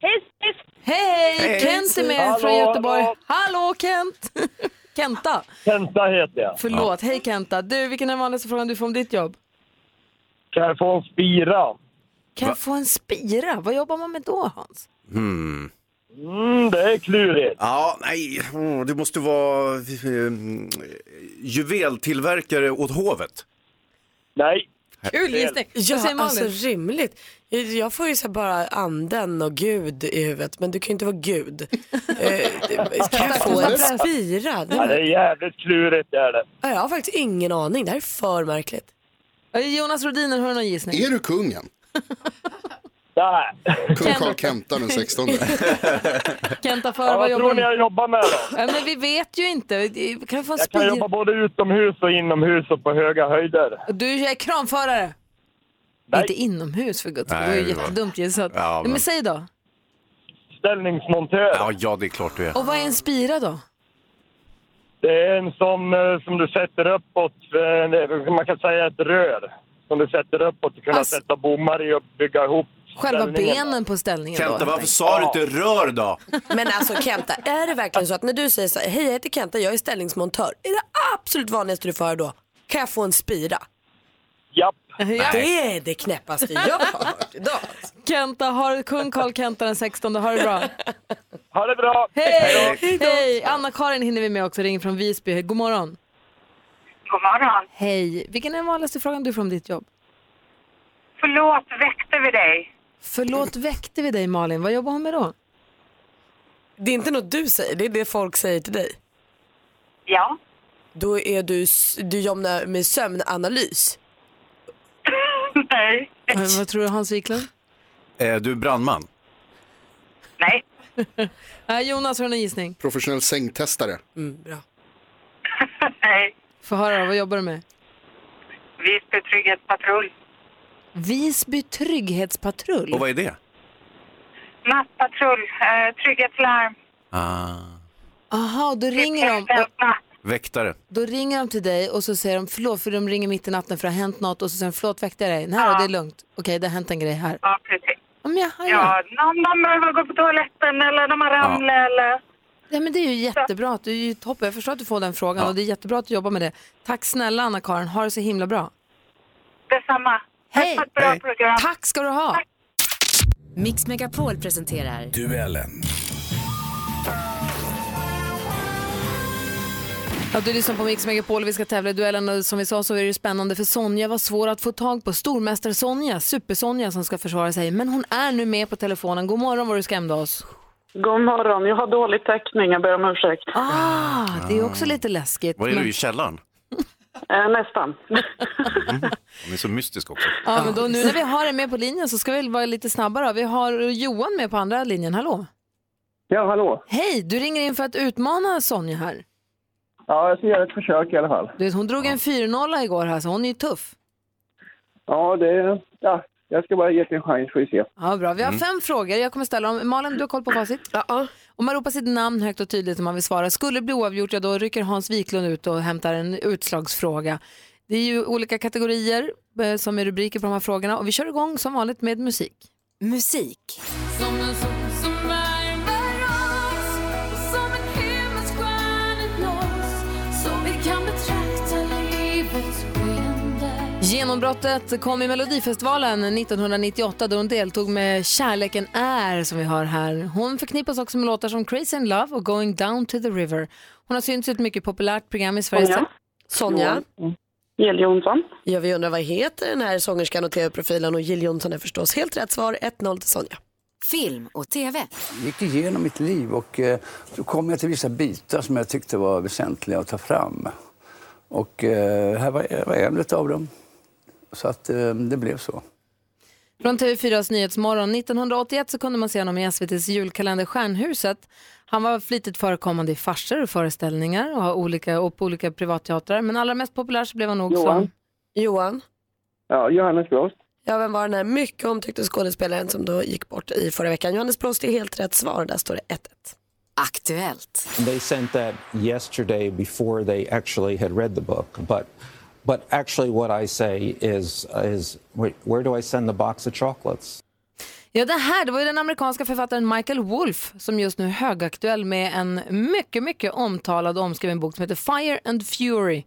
Speaker 13: Hiss, hiss.
Speaker 1: Hej!
Speaker 13: Hej.
Speaker 1: Kent är med
Speaker 13: Hallå,
Speaker 1: från Göteborg. Hallå,
Speaker 13: hallå.
Speaker 1: Kent! Kenta.
Speaker 15: Kenta heter jag.
Speaker 1: Förlåt, hej Kenta. Du, vilken är den vanligaste frågan du får om ditt jobb?
Speaker 15: Kan jag få en spira?
Speaker 1: Kan
Speaker 15: Va?
Speaker 1: jag få en spira? Vad jobbar man med då Hans?
Speaker 2: Hmm.
Speaker 15: Mm, det är klurigt.
Speaker 2: Ja, nej, oh, du måste vara ehm, juveltillverkare åt hovet.
Speaker 15: Nej.
Speaker 1: Kul gissning.
Speaker 3: Ja,
Speaker 1: Vad säger Malin?
Speaker 3: alltså rimligt. Jag får ju så här bara anden och Gud i huvudet, men du kan ju inte vara Gud. Eh, kan jag få en
Speaker 15: Ja,
Speaker 3: spira? Nej,
Speaker 15: det är
Speaker 3: men-
Speaker 15: jävligt klurigt det är det.
Speaker 3: Ja, Jag har faktiskt ingen aning, det här är för märkligt.
Speaker 1: Jonas Rodiner, har du någon gissning?
Speaker 14: Är du kungen?
Speaker 15: Nej.
Speaker 14: Kung Carl Kenta den 16.
Speaker 1: Kenta för
Speaker 15: Ja,
Speaker 1: vad
Speaker 15: vad tror ni
Speaker 1: jobbar man-
Speaker 15: jag jobbar med då?
Speaker 1: Ja, men vi vet ju inte. Kan vi få en
Speaker 15: Jag kan
Speaker 1: spira?
Speaker 15: jobba både utomhus och inomhus och på höga höjder.
Speaker 1: Du är kranförare. Inte inomhus för guds skull, det
Speaker 2: Nej,
Speaker 1: var ju
Speaker 2: det var-
Speaker 1: jättedumt gissat.
Speaker 2: Ja,
Speaker 1: men...
Speaker 2: men-
Speaker 1: säg då.
Speaker 15: Ställningsmontör.
Speaker 2: Ja, ja, det är klart du är.
Speaker 1: Och vad är en spira då?
Speaker 15: Det är en sån eh, som du sätter uppåt, eh, man kan säga ett rör. Som du sätter uppåt för att kunna
Speaker 1: Alltså-
Speaker 15: sätta bommar i och bygga ihop
Speaker 1: Själva
Speaker 15: ställningen.
Speaker 1: benen på ställningen då?
Speaker 2: Kenta,
Speaker 1: helt
Speaker 2: varför
Speaker 1: enkelt.
Speaker 2: sa du inte rör då?
Speaker 3: Men alltså Kenta, är det verkligen så att när du säger så här, hej jag heter Kenta, jag är ställningsmontör. Är det absolut vanligaste du får höra då, kan jag få en spira?
Speaker 15: Japp.
Speaker 3: Det är det knäppaste jag har hört idag.
Speaker 1: Kenta, har kung Karl Kenta den 16, ha det bra.
Speaker 15: Ha det bra!
Speaker 1: Hej! Hej! Anna-Karin hinner vi med också, ringer från Visby. God morgon.
Speaker 13: God morgon.
Speaker 1: Hej! Vilken är den vanligaste frågan du får om ditt jobb?
Speaker 5: Förlåt, väckte vi dig?
Speaker 1: Förlåt, väckte vi dig Malin? Vad jobbar hon med då?
Speaker 3: Det är inte något du säger, det är det folk säger till dig.
Speaker 5: Ja.
Speaker 3: Då är du, s- du jobbar med sömnanalys.
Speaker 5: Nej.
Speaker 1: Vad tror du Hans Wiklund?
Speaker 2: Eh, du är brandman.
Speaker 5: Nej.
Speaker 1: Jonas, har du någon gissning?
Speaker 14: Professionell sängtestare.
Speaker 1: Mm.
Speaker 3: bra.
Speaker 5: Nej.
Speaker 1: Få höra, vad jobbar du med?
Speaker 5: Visby trygghetspatrull.
Speaker 1: Visby trygghetspatrull.
Speaker 2: Och vad är det?
Speaker 5: Nattpatrull. Eh, trygghetslarm.
Speaker 2: Ah,
Speaker 1: Aha, och då ringer de. Och...
Speaker 2: väktare.
Speaker 1: Då ringer de till dig och så säger de förlåt för de ringer mitt i natten för det har hänt något och så säger de förlåt väckte jag dig? Nej då, det är lugnt. Okej, det har hänt en grej här.
Speaker 5: Ja, precis.
Speaker 1: Om jag har
Speaker 5: Ja, någon någon behöver gå på toaletten eller de har ramlat eller...
Speaker 1: Ja, men det är ju jättebra, att du är ju toppen. Jag förstår att du får den frågan och det är jättebra att du jobbar med det. Tack snälla Anna-Karin, ha det så himla bra.
Speaker 5: Detsamma.
Speaker 1: Hej!
Speaker 5: Bra program.
Speaker 1: Tack ska du ha!
Speaker 16: Mix Megapol presenterar
Speaker 4: Duellen.
Speaker 1: Att du lyssnar på Mix Megapol och vi ska tävla i duellen och som vi sa så är det ju spännande för Sonja var svår att få tag på. Stormästare Sonja, Super-Sonja som ska försvara sig. Men hon är nu med på telefonen. God morgon vad du skrämde oss.
Speaker 17: God morgon. Jag har dålig täckning. Jag ber om ursäkt.
Speaker 1: Ah, det är också lite läskigt.
Speaker 2: Var är
Speaker 1: men-
Speaker 2: du i källaren?
Speaker 17: Eh, nästan.
Speaker 2: Hon är så mystisk också.
Speaker 1: Ja, men då, nu
Speaker 2: Ah.
Speaker 1: när vi har dig med på linjen så ska vi vara lite snabbare. Vi har Johan med på andra linjen. Hallå!
Speaker 18: Ja, hallå.
Speaker 1: Hej! Du ringer in för att utmana Sonja här.
Speaker 18: Ja, jag ska göra ett försök i alla fall.
Speaker 1: Du vet, hon drog en 4-0 igår här så hon är ju tuff.
Speaker 18: Ja, det... Ja, jag ska bara ge det en chans, får vi se.
Speaker 1: Ja, bra. Vi
Speaker 18: Mm.
Speaker 1: har fem frågor. Jag kommer ställa dem. Malin, du har koll på facit? Ja. Om man ropar sitt namn högt och tydligt om man vill svara. Skulle det bli oavgjort, ja, då rycker Hans Wiklund ut och hämtar en utslagsfråga. Det är ju olika kategorier eh, som är rubriker på de här frågorna och vi kör igång som vanligt med musik. Musik.
Speaker 10: Som en sol som värmer oss och som en himmelsstjärna blås så vi kan betrakta livets skeende
Speaker 1: Genombrottet kom i Melodifestivalen 1998 då hon deltog med Kärleken är som vi har här. Hon förknippas också med låtar som Crazy in Love och Going Down to the River. Hon har synts i ett mycket populärt program i Sverige.
Speaker 3: Sonja. Sonja.
Speaker 17: Jill Johnson.
Speaker 3: Ja, vi undrar vad heter den här sångerskan och tv-profilen och Jill Johnson är förstås helt rätt svar. 1-0 till Sonja.
Speaker 16: film och tv.
Speaker 19: gick igenom mitt liv och eh, då kom jag till vissa bitar som jag tyckte var väsentliga att ta fram. Och eh, här var, var en av dem. Så att eh, det blev så.
Speaker 1: Från TV4s Nyhetsmorgon 1981 så kunde man se honom i SVTs julkalender Stjärnhuset. Han var flitigt förekommande i farser och föreställningar och, har olika, och på olika privatteatrar. Men allra mest populär så blev han nog som...
Speaker 3: Johan. Johan.
Speaker 18: Ja, Johannes Brost.
Speaker 3: Ja, vem var den här mycket omtyckte skådespelaren som då gick bort i förra veckan? Johannes Brost är helt rätt svar. Där står det 1-1.
Speaker 16: Aktuellt.
Speaker 20: They sent that yesterday before they actually had read the book. But, but actually, what I say is, is where, where do I send the box of chocolates?
Speaker 1: Ja, det här det var ju den amerikanska författaren Michael Wolff som just nu är högaktuell med en mycket, mycket omtalad och omskriven bok som heter Fire and Fury.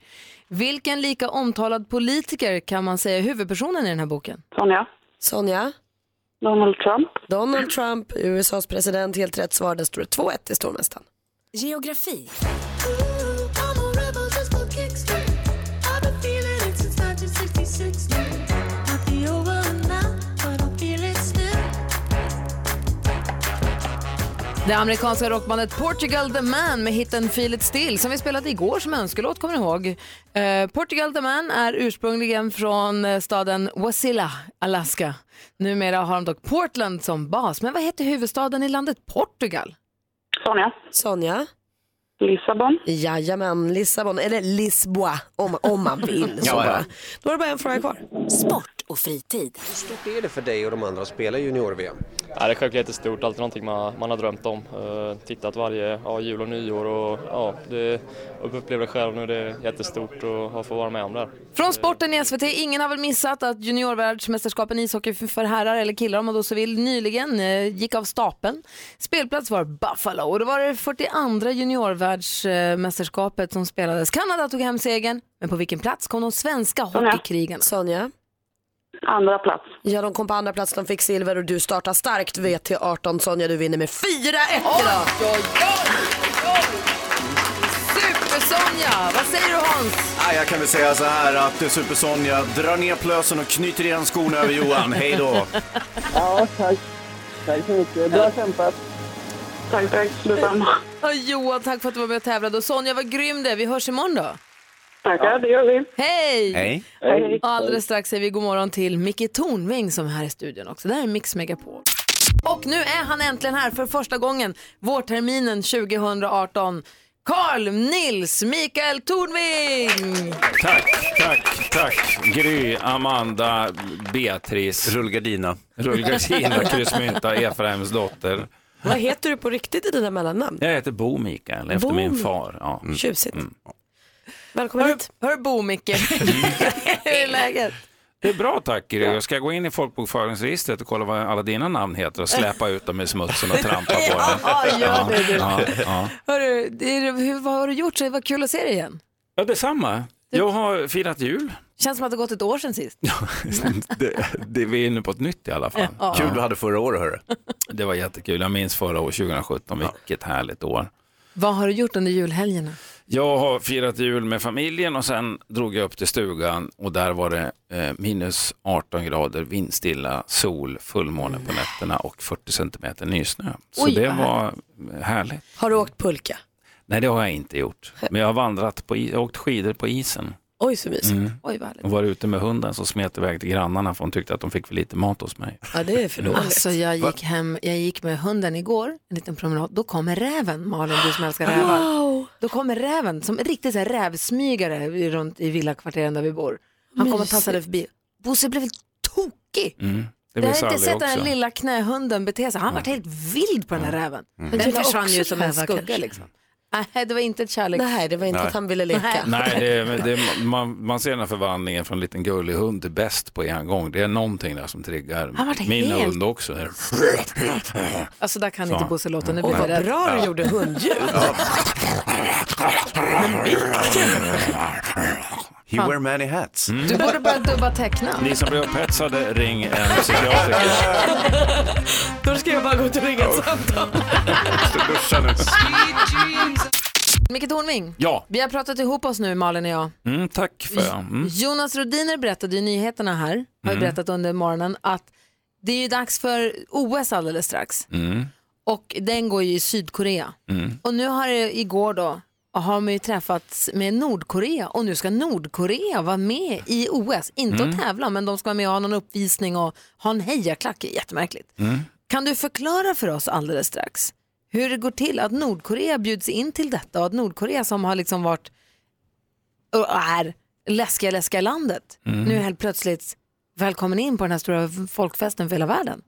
Speaker 1: Vilken lika omtalad politiker kan man säga är huvudpersonen i den här boken?
Speaker 17: Sonja.
Speaker 3: Sonja.
Speaker 17: Donald Trump.
Speaker 3: Donald Trump, USAs president. Helt rätt svar. Där står det 2-1 i stormästaren.
Speaker 16: Geografi.
Speaker 10: I'm a rebel just for kicks I've been feeling it since 1966 Might be over now but I feel it still
Speaker 1: Det amerikanska rockbandet Portugal the Man med hiten Feel It Still som vi spelade igår som önskelåt, kommer ni ihåg? Eh, Portugal the Man är ursprungligen från eh, staden Wasilla, Alaska. Numera har de dock Portland som bas. Men vad heter huvudstaden i landet Portugal?
Speaker 17: Sonja.
Speaker 3: Sonja.
Speaker 17: Lissabon.
Speaker 3: Jajamän, Lissabon. Eller Lisboa om, om man vill. Så
Speaker 21: Ja, ja.
Speaker 3: bara. Då är det bara en fråga kvar.
Speaker 16: Sport och fritid.
Speaker 21: Hur är det för dig och de andra att spela i junior-VM?
Speaker 22: Ja, det är självklart jättestort, alltid någonting man, man har drömt om. Eh, tittat varje ja, jul och nyår och ja, det, upplever det själv nu, det är jättestort och att få vara med om det här.
Speaker 1: Från sporten i SVT, ingen har väl missat att juniorvärldsmästerskapen i ishockey för herrar eller killar om man då så vill nyligen eh, gick av stapeln. Spelplats var Buffalo och det var det 42 juniorvärldsmästerskapet som spelades. Kanada tog hem segern, men på vilken plats kom de svenska hockeykrigarna?
Speaker 3: Sonja?
Speaker 17: Andra plats.
Speaker 3: Ja, de kom på andra plats, de fick silver och du startar starkt VT18. Sonja, du vinner med 4-1 idag.
Speaker 1: Super, Super-Sonja, vad säger du Hans?
Speaker 2: Ah, jag kan väl säga så här att eh, Super Sonja drar ner plösen och knyter igen skorna över Johan. Hej då!
Speaker 18: Ja, tack. Tack så mycket. Bra kämpat. Tack, tack. Detsamma.
Speaker 1: Ja, Johan, tack för att du var med och tävlade. Och Sonja, vad grym du är. Vi hörs imorgon då.
Speaker 18: Tackar, det gör vi.
Speaker 1: Hej!
Speaker 18: Hej. Hej.
Speaker 1: Och alldeles strax säger vi god morgon till Micke Tornving som är här i studion också. Det här är Mix Megapol. Och nu är han äntligen här för första gången vårterminen 2018. Carl Nils Mikael Tornving!
Speaker 23: Tack, tack, tack. Gry, Amanda, Beatrice.
Speaker 2: Rullgardina.
Speaker 23: Rullgardina, kryssmynta, Efraims dotter.
Speaker 3: Vad heter du på riktigt i dina mellannamn?
Speaker 23: Jag heter Bo Mikael efter
Speaker 3: Bo
Speaker 23: min
Speaker 3: Mikael.
Speaker 23: far. Ja.
Speaker 3: Tjusigt.
Speaker 23: Mm.
Speaker 3: Välkommen hör, hit.
Speaker 1: Hör Bo, Micke. Hur är läget?
Speaker 23: Det är bra tack Gry. Jag ska gå in i folkbokföringsregistret och kolla vad alla dina namn heter och släpa ut dem i smutsen och trampa på dem.
Speaker 1: Ja, gör det, du.
Speaker 23: ja, ja.
Speaker 1: Hörru, det är, hur, vad har du gjort? Så Vad kul att se dig igen.
Speaker 23: ja, detsamma. Jag har firat jul.
Speaker 1: Känns som att det har gått ett år sedan sist.
Speaker 23: det, det, vi är inne på ett nytt i alla fall.
Speaker 1: Ja. Kul
Speaker 2: du hade förra året, hörru.
Speaker 23: Det var jättekul. Jag minns förra året, 2017, vilket härligt år.
Speaker 1: Vad har du gjort under julhelgerna?
Speaker 23: Jag har firat jul med familjen och sen drog jag upp till stugan och där var det eh, minus 18 grader, vindstilla, sol, fullmåne på nätterna och 40 centimeter nysnö. Så
Speaker 3: Oj,
Speaker 23: det
Speaker 3: vad
Speaker 23: var härligt.
Speaker 3: Har du åkt pulka?
Speaker 23: Nej, det har jag inte gjort. Men jag har vandrat på, i- jag har åkt skidor på isen.
Speaker 3: Oj, så mysigt.
Speaker 23: Mm.
Speaker 1: Oj, vad härligt.
Speaker 23: Och var ute med hunden som smet iväg till grannarna för hon tyckte att de fick för lite mat hos mig.
Speaker 3: Ja, det är för dåligt.
Speaker 1: Alltså jag gick hem, jag gick med hunden igår, en liten promenad, då kommer räven, Malin du som älskar rävar.
Speaker 3: Wow.
Speaker 1: Då kommer räven som en riktig så här rävsmygare i- runt i villakvarteren där vi bor. Han kom och
Speaker 3: Mysigt.
Speaker 1: tassade förbi. Bosse blev helt tokig.
Speaker 23: Mm. Det
Speaker 1: Jag
Speaker 23: blir
Speaker 1: har inte
Speaker 23: Sally
Speaker 1: sett den här
Speaker 23: också.
Speaker 1: lilla knähunden bete sig. Han vart helt vild på den här räven.
Speaker 23: Mm.
Speaker 1: Den
Speaker 3: Jag var
Speaker 1: försvann ju
Speaker 3: också
Speaker 1: som en
Speaker 3: rävar,
Speaker 1: skugga
Speaker 3: kanske.
Speaker 1: liksom. Nej, det var inte ett kärleks...
Speaker 3: Nej, det var inte
Speaker 23: Nej.
Speaker 3: att han ville leka.
Speaker 23: Nej, det, det, man, man ser den här förvandlingen från liten gullig hund till bäst på en gång. Det är någonting där som triggar
Speaker 1: Han vart
Speaker 23: min
Speaker 1: helt-
Speaker 23: hund också.
Speaker 1: Alltså där kan
Speaker 23: Så.
Speaker 1: inte Bosse låta, nu
Speaker 23: Åh,
Speaker 1: blir jag
Speaker 23: vad
Speaker 1: rädd.
Speaker 23: bra du Mm. Ja. gjorde
Speaker 3: hundljud.
Speaker 2: He wear many hats.
Speaker 1: Du borde börja dubba teckna.
Speaker 23: Ni som blir upphetsade, ring en psykiatriker.
Speaker 3: Då ska jag bara gå ut och ringa ett samtal.
Speaker 1: Micke Tornving,
Speaker 23: Ja,
Speaker 1: vi har pratat ihop oss nu Malin och jag.
Speaker 23: mm, tack för det. Mm.
Speaker 1: Jonas Rodiner berättade i nyheterna här, har ju
Speaker 23: Mm.
Speaker 1: berättat under morgonen, att det är ju dags för OS alldeles strax.
Speaker 23: Mm.
Speaker 1: Och den går ju i Sydkorea.
Speaker 23: Mm.
Speaker 1: Och nu har det igår då, har man ju träffats med Nordkorea och nu ska Nordkorea vara med i OS. Inte
Speaker 10: Mm.
Speaker 1: att tävla, men de ska vara med och ha någon uppvisning och ha en hejaklack. Jättemärkligt. Kan du förklara för oss alldeles strax hur det går till att Nordkorea bjuds in till detta och att Nordkorea som har liksom varit och är läskiga, läskiga landet
Speaker 23: Mm.
Speaker 1: nu helt plötsligt välkommen in på den här stora folkfesten för hela världen.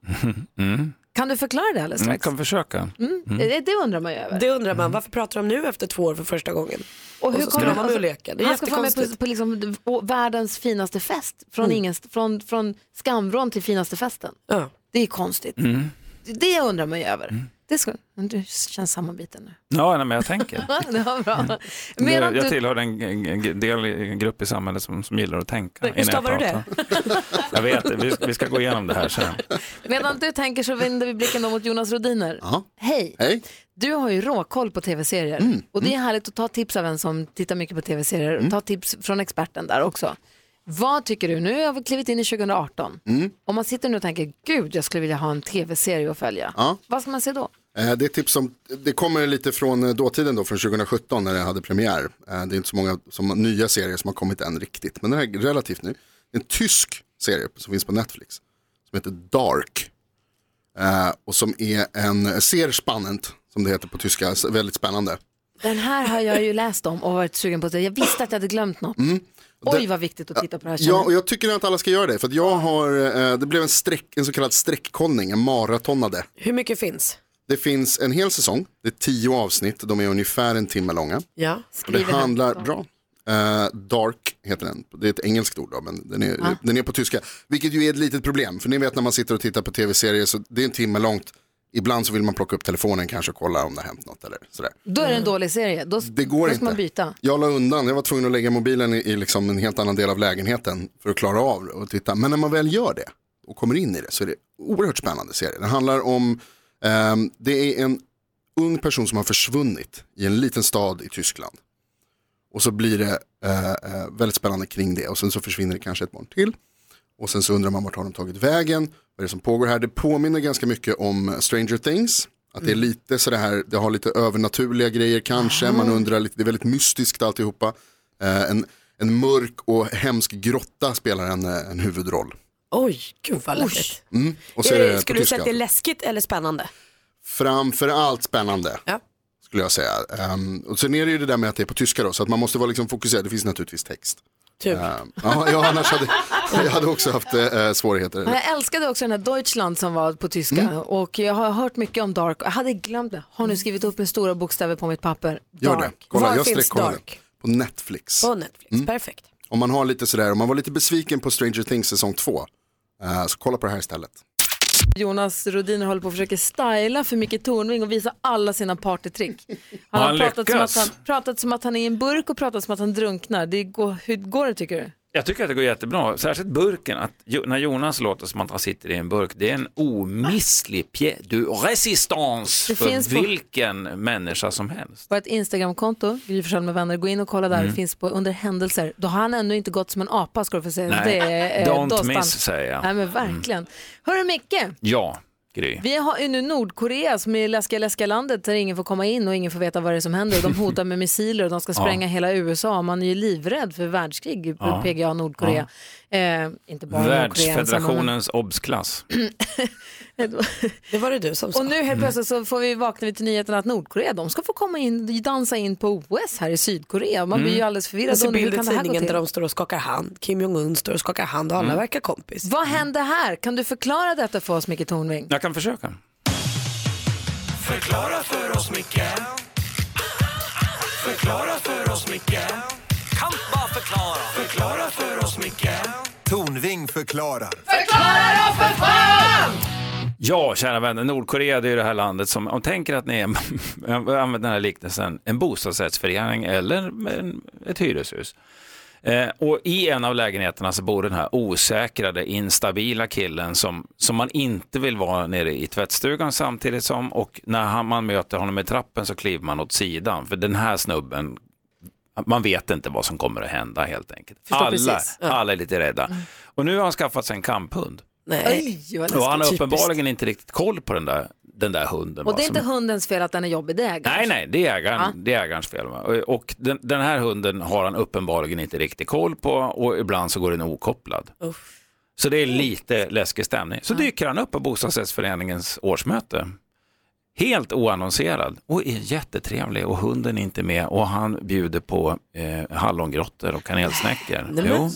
Speaker 23: Mm.
Speaker 1: Kan du förklara det alldeles
Speaker 23: Jag
Speaker 1: strax?
Speaker 23: kan försöka.
Speaker 1: Mm. Det, det undrar man ju över.
Speaker 3: Det undrar
Speaker 14: Mm.
Speaker 3: man, varför pratar de nu efter två år för första gången?
Speaker 1: Och hur
Speaker 3: så ska
Speaker 1: kommer alltså,
Speaker 3: de vara med och leka? Det är
Speaker 1: han ska få med på,
Speaker 3: jättekonstigt.
Speaker 1: på liksom, på världens finaste fest, från,
Speaker 3: Mm.
Speaker 1: ingen, från, från skamvrån till finaste festen. Det är konstigt.
Speaker 23: Mm.
Speaker 1: Det- Det undrar man ju över.
Speaker 3: Mm.
Speaker 1: Det ska, men du känns sammanbiten nu.
Speaker 23: Ja, nej, men jag tänker.
Speaker 1: det var
Speaker 14: Mm.
Speaker 1: bra.
Speaker 23: Jag,
Speaker 1: Medan
Speaker 23: jag
Speaker 1: du,
Speaker 23: tillhör den en- en del i- en grupp i samhället som, som gillar att tänka. innan jag
Speaker 1: stavar du det?
Speaker 23: pratar. Jag vet, det. vi, vi ska gå igenom det här sen.
Speaker 1: medan du tänker så vänder vi blicken då mot Jonas Rodiner. Hej.
Speaker 14: Hej.
Speaker 1: Du har ju råkoll på tv-serier
Speaker 14: Mm,
Speaker 1: och det är härligt att ta tips av en som tittar mycket på tv-serier och ta tips från experten där också. Vad tycker du? Nu har vi klivit in i 2018.
Speaker 14: Mm.
Speaker 1: Om man sitter nu och tänker, gud jag skulle vilja ha en tv-serie att följa.
Speaker 14: Ja.
Speaker 1: Vad ska man se då?
Speaker 14: Eh, Det är tips som, det kommer lite från eh, dåtiden då, från 2017 när det hade premiär. Eh, Det är inte så många som, nya serier som har kommit än riktigt, men den här är relativt ny. Det är En tysk serie som finns på Netflix, som heter Dark. Eh, Och som är en ser spannend, som det heter på tyska, s- väldigt spännande.
Speaker 1: Den här har jag ju läst om och varit sugen på att se. Jag visste att jag hade glömt något. Oj vad viktigt att titta på det här. känner
Speaker 14: Mm. Ja, och jag tycker att alla ska göra det, för att jag har, eh, det blev en, streck, en så kallad streckkollning, en maratonade.
Speaker 3: Hur mycket finns?
Speaker 14: Det finns en hel säsong, det är tio avsnitt, de är ungefär en timme långa.
Speaker 3: Ja.
Speaker 14: Och det handlar, bra. Eh, dark heter den, det är ett engelskt ord då, men den är,
Speaker 3: Ah.
Speaker 14: den är på tyska. Vilket ju är ett litet problem, för ni vet när man sitter och tittar på tv-serier så det är en timme långt. Ibland så vill man plocka upp telefonen kanske och kolla om det har hänt något eller sådär.
Speaker 1: Då är det en dålig serie. Då,
Speaker 14: Det går
Speaker 1: då ska
Speaker 14: inte.
Speaker 1: man byta.
Speaker 14: Jag la undan, jag var tvungen att lägga mobilen i, i liksom en helt annan del av lägenheten för att klara av och titta. Men när man väl gör det och kommer in i det så är det oerhört spännande serie. Det handlar om, ehm, det är en ung person som har försvunnit i en liten stad i Tyskland. Och så blir det eh, eh, väldigt spännande kring det och sen så försvinner det kanske ett barn till. Och sen så undrar man vart har de tagit vägen, vad är det som pågår här. Det påminner ganska mycket om Stranger Things. Att det är
Speaker 24: Mm.
Speaker 14: lite sådär här, det har lite övernaturliga grejer kanske, man undrar lite, det är väldigt mystiskt alltihopa. Eh, en, en mörk och hemsk grotta spelar en, eh, en huvudroll.
Speaker 3: Oj, gud vad läskigt.
Speaker 14: Mm. Och så
Speaker 3: Är
Speaker 14: är
Speaker 3: det-
Speaker 1: Eh,
Speaker 14: det på
Speaker 3: Eh, Skulle du säga
Speaker 14: tyska.
Speaker 3: att det är läskigt eller spännande?
Speaker 14: Framförallt spännande.
Speaker 3: Ja.
Speaker 14: Skulle jag säga. Ehm, och sen är det ju det där med att det är på tyska då, så att man måste vara liksom fokuserad. Det finns naturligtvis text.
Speaker 3: Tur.
Speaker 14: Ehm, ja, jag, annars hade, jag hade också haft eh, Mm. svårigheter.
Speaker 1: Men jag älskade också den här Deutschland som var på tyska och jag har hört mycket om Dark. Jag hade glömt det. Har nu skrivit upp med stora bokstäver på mitt papper.
Speaker 14: Gör
Speaker 1: Dark.
Speaker 14: det. Kolla,
Speaker 1: Var
Speaker 14: jag
Speaker 1: finns
Speaker 14: sträckkollar
Speaker 1: Dark?
Speaker 14: det. På Netflix.
Speaker 3: På Netflix,
Speaker 14: Mm.
Speaker 3: perfekt.
Speaker 14: Om man har lite sådär, om man var lite besviken på Stranger Things säsong 2, så kolla på det här istället.
Speaker 1: Jonas Rodiner håller på att försöka styla för Micke Tornving och visa alla sina partytrick. Han
Speaker 10: Har
Speaker 1: har
Speaker 10: han
Speaker 1: pratat, som att
Speaker 23: lyckats?
Speaker 1: han, pratat som att han är i en burk och pratat som att han drunknar. Det går, hur går det tycker du?
Speaker 23: Jag tycker att det går jättebra, särskilt burken. Att Jo- när Jonas låter som att han sitter i en burk, det är en omisslig pièce du résistance
Speaker 1: Det
Speaker 23: för
Speaker 1: finns på-
Speaker 23: vilken människa som helst.
Speaker 1: Vårt Instagramkonto, Gry Forssell med vänner, gå in och kolla där.
Speaker 23: Mm.
Speaker 1: Det finns på under händelser. Då har han ännu inte gått som en apa ska du få säga.
Speaker 23: Nej,
Speaker 1: Det är,
Speaker 23: don't
Speaker 1: då spann-
Speaker 23: miss, säger jag. Mm.
Speaker 1: Nej men verkligen. Hörru Micke,
Speaker 23: Ja, Gry.
Speaker 1: vi har ju nu Nordkorea som är läskiga läskiga landet där ingen får komma in och ingen får veta vad det är som händer. De hotar med missiler och de ska
Speaker 23: Ja.
Speaker 1: spränga hela USA. Man är ju livrädd för världskrig,
Speaker 23: Ja.
Speaker 1: PGA Nordkorea. Eh, inte bara Nordkorea ensamma, men-
Speaker 23: Världsfederationens obsklass.
Speaker 3: Det var det du som sa.
Speaker 1: Och nu helt plötsligt så får vi vakna lite nyheten att Nordkorea, de ska få komma in, dansa in på OS här i Sydkorea. Man
Speaker 23: Mm.
Speaker 14: Mm.
Speaker 1: blir ju alldeles förvirrad.
Speaker 3: Jag ser
Speaker 1: Undrar, hur
Speaker 3: bild i
Speaker 1: kan det här gå
Speaker 3: Alltså, tidningen
Speaker 1: till?
Speaker 3: där de står och skakar hand. Kim Jong-Un står och skakar hand och alla
Speaker 23: Mm.
Speaker 3: verkar kompis.
Speaker 1: Vad händer här? Kan du förklara detta för oss, Micke Tornving?
Speaker 23: Jag kan försöka.
Speaker 10: Förklara för oss, Micke. Förklara för oss, Micke. Kan bara förklara. Förklara för oss, Micke.
Speaker 11: Tornving förklarar.
Speaker 10: Förklara då för fan!
Speaker 23: Ja, kära vänner, Nordkorea det är ju det här landet som, om tänker att ni är, jag använder den här liknelsen, en bostadsrättsförening eller en, ett hyreshus. Eh, och i en av lägenheterna så bor den här osäkrade, instabila killen som, som man inte vill vara nere i tvättstugan samtidigt som och när han, man möter honom i trappen så kliver man åt sidan för den här snubben, man vet inte vad som kommer att hända helt enkelt.
Speaker 10: Förstår
Speaker 23: Alla,
Speaker 10: precis. Ja. Mm.
Speaker 23: alla är lite rädda. Och nu har han skaffat sig en kamphund.
Speaker 1: Nej. Oj, vad
Speaker 23: Och han har
Speaker 1: läskigt.
Speaker 23: uppenbarligen inte riktigt koll på den där, den där hunden.
Speaker 1: Och
Speaker 23: va,
Speaker 1: det är inte
Speaker 23: som-
Speaker 1: hundens fel att den är jobbig, det är ägaren.
Speaker 23: Nej, nej, det är, ägaren,
Speaker 1: Ja.
Speaker 23: det är ägarens fel. va. Och- Och den, den här hunden har han uppenbarligen inte riktigt koll på och ibland så går den okopplad. Så det är lite läskig stämning. Så dyker han upp på bostadsrättsföreningens årsmöte. Helt oannonserad och är jättetrevlig och hunden är inte med och han bjuder på eh, hallongrottor och kanelsnäckor.
Speaker 1: Nej, men-
Speaker 23: Jo.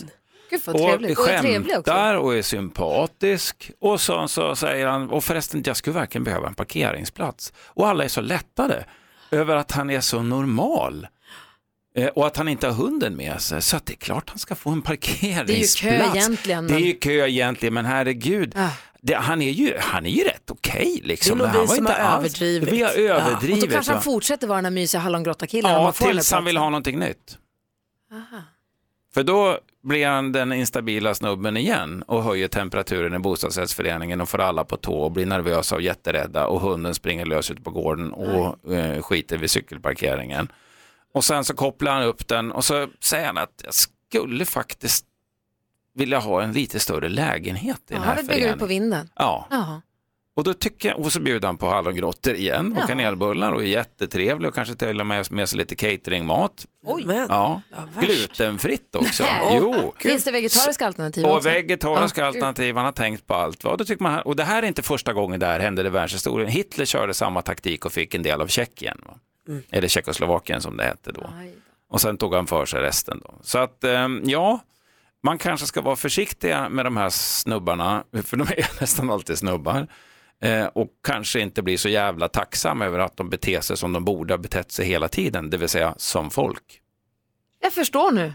Speaker 1: Gud vad trevligt.
Speaker 23: Och
Speaker 1: Och är trevlig också.
Speaker 23: skämtar och är sympatisk. Och så, så säger han, och förresten jag skulle verkligen behöva en parkeringsplats. Och alla är så lättade över att han är så normal. Eh, Och att han inte har hunden med sig, så att det är klart han ska få en parkeringsplats.
Speaker 1: egentligen,
Speaker 23: Det är
Speaker 1: men- Ah.
Speaker 23: ju kö egentligen, men herregud. Det, han, är ju, han är ju rätt okej liksom.
Speaker 1: Det är nog
Speaker 23: han
Speaker 1: vi
Speaker 23: var
Speaker 1: som
Speaker 23: inte
Speaker 1: har
Speaker 23: alls-
Speaker 1: överdrivit.
Speaker 23: Vi har
Speaker 1: Och
Speaker 23: överdrivit.
Speaker 1: då kanske han
Speaker 23: va?
Speaker 1: fortsätter vara den här mysiga hallongrottakillen. om
Speaker 23: Ja,
Speaker 1: man får den här
Speaker 23: tills han vill ha
Speaker 1: platsen.
Speaker 23: någonting nytt.
Speaker 1: Aha.
Speaker 23: För då blir han den instabila snubben igen och höjer temperaturen i bostadsrättsföreningen och får alla på tå och blir nervösa och jätterädda och hunden springer lös ut på gården och eh, skiter vid cykelparkeringen. Och sen så kopplar han upp den och så säger han att jag skulle faktiskt vilja ha en lite större lägenhet i den
Speaker 1: Jaha,
Speaker 23: här
Speaker 1: det bygger
Speaker 23: föreningen.
Speaker 1: ut på vinden.
Speaker 23: Ja.
Speaker 1: Jaha.
Speaker 23: Och, då tycker jag, och så bjuder han på hallongrottor igen och
Speaker 1: Ja.
Speaker 23: kanelbullar och är jättetrevlig och kanske till och med har med sig lite cateringmat.
Speaker 1: Oj.
Speaker 23: Ja. Glutenfritt också.
Speaker 1: Nej.
Speaker 23: Jo.
Speaker 1: Finns det vegetariska alternativ
Speaker 23: Och
Speaker 1: också?
Speaker 23: vegetariska
Speaker 1: Ja.
Speaker 23: alternativ, han har tänkt på allt. Och, då tycker man, och det här är inte första gången det här hände i världshistorien. Hitler körde samma taktik och fick en del av Tjeckien. Va?
Speaker 10: Mm.
Speaker 23: Eller Tjeckoslovakien som det hette då. Och sen tog han för sig resten. Då. Så att, ehm, ja, man kanske ska vara försiktiga med de här snubbarna, för de är nästan alltid snubbar. Eh, och kanske inte bli så jävla tacksam över att de beter sig som de borde ha betett sig hela tiden, det vill säga som folk.
Speaker 1: Jag förstår nu.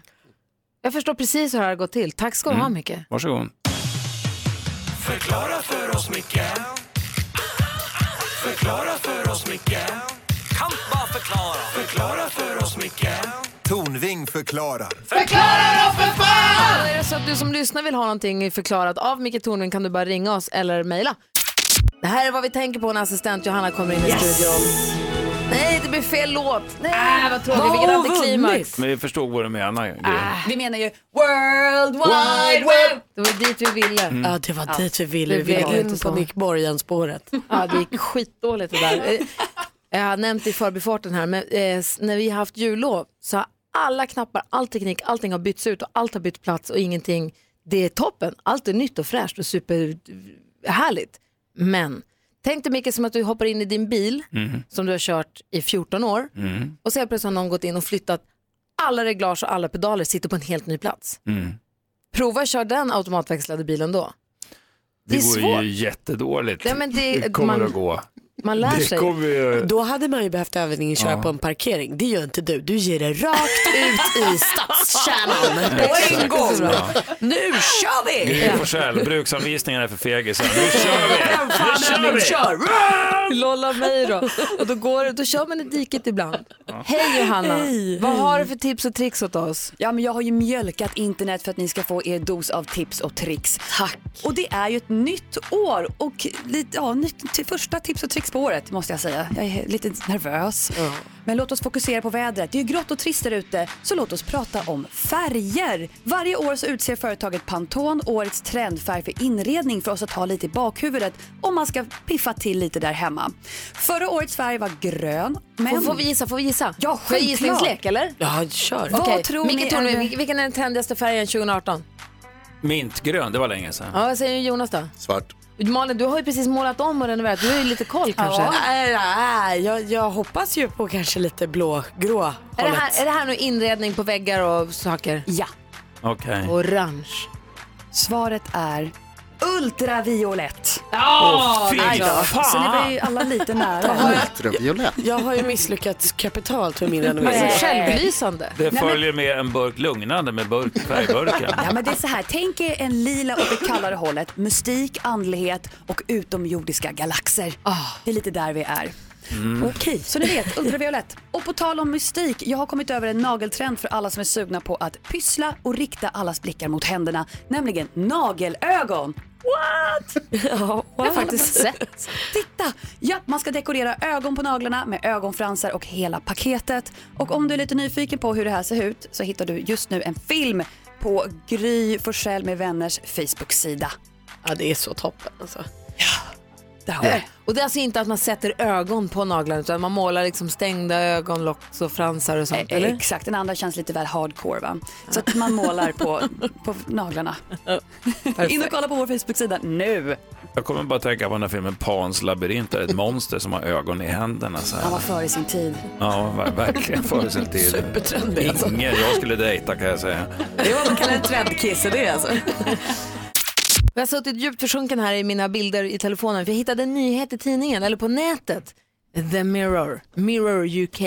Speaker 1: Jag förstår precis hur det här har gått till. Tack ska du
Speaker 23: Mm.
Speaker 1: ha, Micke.
Speaker 23: Varsågod.
Speaker 10: Förklara för oss, Micke. Förklara för oss, Micke. Kan bara förklara. Förklara för oss, Micke.
Speaker 11: Tornving förklarar.
Speaker 10: Förklara då för
Speaker 1: Ja, Är det så att du som lyssnar vill ha någonting förklarat av Micke Tornving kan du bara ringa oss eller mejla. Det här är vad vi tänker på när assistent Johanna kommer in i studion. Nej, det blev fel låt. Nej, Äh, vad tråkigt. Vilket antiklimax. Ah.
Speaker 23: Men vi förstod vad du menar. Gry.
Speaker 1: Vi menar ju World Wide
Speaker 3: Wide
Speaker 1: Web. Det var dit vi ville.
Speaker 14: Mm.
Speaker 3: Ja, det var dit vi ville. Vi
Speaker 1: Det blev
Speaker 3: ville
Speaker 1: inte
Speaker 3: inte på
Speaker 1: så.
Speaker 3: Nick Borgen-spåret.
Speaker 1: Ja, det gick skitdåligt det där. Eh, Jag har nämnt i förbifarten här, men eh, s- när vi har haft jullov så har alla knappar, all teknik, allting har bytts ut och allt har bytt plats och ingenting. Det är toppen, allt är nytt och fräscht och superhärligt. Men tänk dig mycket som att du hoppar in i din bil
Speaker 10: Mm.
Speaker 1: som du har kört i 14 år
Speaker 10: Mm.
Speaker 1: och så helt plötsligt har någon gått in och flyttat alla reglage och alla pedaler sitter på en helt ny plats.
Speaker 23: Mm.
Speaker 1: Prova kör den automatväxlade bilen då.
Speaker 23: Det,
Speaker 1: Det är
Speaker 23: går
Speaker 1: svårt.
Speaker 23: ju jättedåligt.
Speaker 1: Nej, men det-
Speaker 23: kommer
Speaker 1: man-
Speaker 23: att gå.
Speaker 1: Man lär sig.
Speaker 3: Då hade man ju behövt övning i att köra
Speaker 23: Ja.
Speaker 3: på en parkering. Det gör inte du. Du ger det rakt ut i stadskärnan. På en
Speaker 23: Exakt.
Speaker 3: gång.
Speaker 23: Ja.
Speaker 3: Nu kör vi!
Speaker 23: Gry Forssell, bruksanvisningarna är för fegisar. Nu kör vi! Nu kör vi!
Speaker 1: Lolla mig då. Och då, går, det- då kör man i diket ibland. Hej Johanna, vad har du för tips och tricks åt oss?
Speaker 24: Ja, men jag har ju mjölkat internet för att ni ska få er dos av tips och tricks. Tack! Och det är ju ett nytt år och lite, ja, nytt, till första tips och tricks på året måste jag säga. Jag är lite nervös. Men låt oss fokusera på vädret. Det är ju grått och trist där ute, så låt oss prata om färger. Varje år så utser företaget Pantone årets trendfärg för inredning för oss att ha lite i bakhuvudet om man ska piffa till lite där hemma. Förra årets färg var grön, men...
Speaker 1: Får- får vi gissa? Får vi gissa?
Speaker 24: Ja,
Speaker 1: Får jag gissningslek, eller?
Speaker 3: Ja, kör.
Speaker 24: Vad
Speaker 1: Okej,
Speaker 24: tror
Speaker 1: Micke
Speaker 24: ni
Speaker 1: Tornving,
Speaker 24: är-
Speaker 1: vil- vilken är den trendigaste färgen 2018?
Speaker 23: Mintgrön, det var länge sedan.
Speaker 1: Ja, vad säger Jonas då?
Speaker 14: Svart.
Speaker 1: Malin, du har ju precis målat om och renoverat. Du har ju lite koll kanske.
Speaker 3: Ja, äh, äh, jag, jag hoppas ju på kanske lite blågrå hållet.
Speaker 1: Är, det här, är det här nu inredning på väggar och saker?
Speaker 24: Ja.
Speaker 23: Okej.
Speaker 1: Orange.
Speaker 24: Svaret är ultraviolett.
Speaker 3: Ja, Åh, fy nej då. fan.
Speaker 24: Så ni var ju alla lite nära.
Speaker 14: Ultraviolett.
Speaker 3: Jag har ju misslyckats kapitalt med min
Speaker 24: Men
Speaker 3: renovering.
Speaker 24: så
Speaker 1: självlysande.
Speaker 23: Det
Speaker 24: Nej, men-
Speaker 23: följer med en burk lugnande med burk, färgburken.
Speaker 24: Ja, men det är så här, tänk er en lila åt det kallare hållet, mystik, andlighet och utomjordiska galaxer. Det är lite där vi är.
Speaker 10: Mm.
Speaker 24: Okej, så ni vet, ultraviolett. Och på tal om mystik, jag har kommit över en nageltrend för alla som är sugna på att pyssla och rikta allas blickar mot händerna, nämligen nagelögon. What? Jag har faktiskt sett. Titta! Ja, man ska dekorera ögon på naglarna med ögonfransar och hela paketet. Och om du är lite nyfiken på hur det här ser ut så hittar du just nu en film på Gry Forssell med vänners Facebook-sida.
Speaker 3: Ja, det är så toppen alltså.
Speaker 1: Eh, Och det är alltså inte att man sätter ögon på naglarna utan man målar liksom stängda ögon, locks och fransar och sånt,
Speaker 24: Eh,
Speaker 1: eller?
Speaker 24: Exakt, den andra känns lite väl hardcore va? Så att man målar på, på naglarna. In och kolla på vår Facebook-sida nu.
Speaker 23: Jag kommer bara tänka på den här filmen Pans labyrint, där det är ett monster som har ögon i händerna. Så
Speaker 24: Han var
Speaker 23: här.
Speaker 24: före sin tid.
Speaker 23: Ja, ver- verkligen före sin tid.
Speaker 24: Supertrendig, alltså.
Speaker 23: Ingen jag skulle dejta kan jag säga.
Speaker 3: Det var man kallar en trendkiss det alltså.
Speaker 1: Jag har suttit djupt försjunken här i mina bilder i telefonen för jag hittade en nyhet i tidningen, eller på nätet. The Mirror, Mirror UK,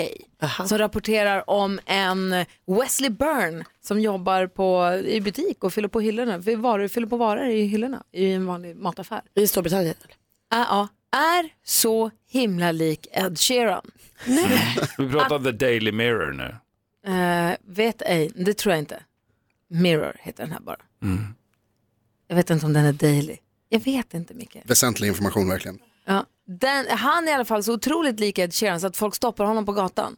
Speaker 1: som rapporterar om en Wesley Byrne som jobbar på, i butik och fyller på hyllorna, Vi varor, fyller på varor i hyllorna i en vanlig mataffär.
Speaker 3: I Storbritannien?
Speaker 1: Ja, ja. är så himla lik Ed Sheeran.
Speaker 23: Vi pratar om The Daily Mirror nu.
Speaker 1: Eh, vet ej, det tror jag inte. Mirror heter den här bara.
Speaker 14: Mm.
Speaker 1: Jag vet inte om den är daily. Jag vet inte Micke.
Speaker 14: Väsentlig information verkligen.
Speaker 1: Ja, den, han är i alla fall så otroligt lik Ed Sheeran så att folk stoppar honom på gatan.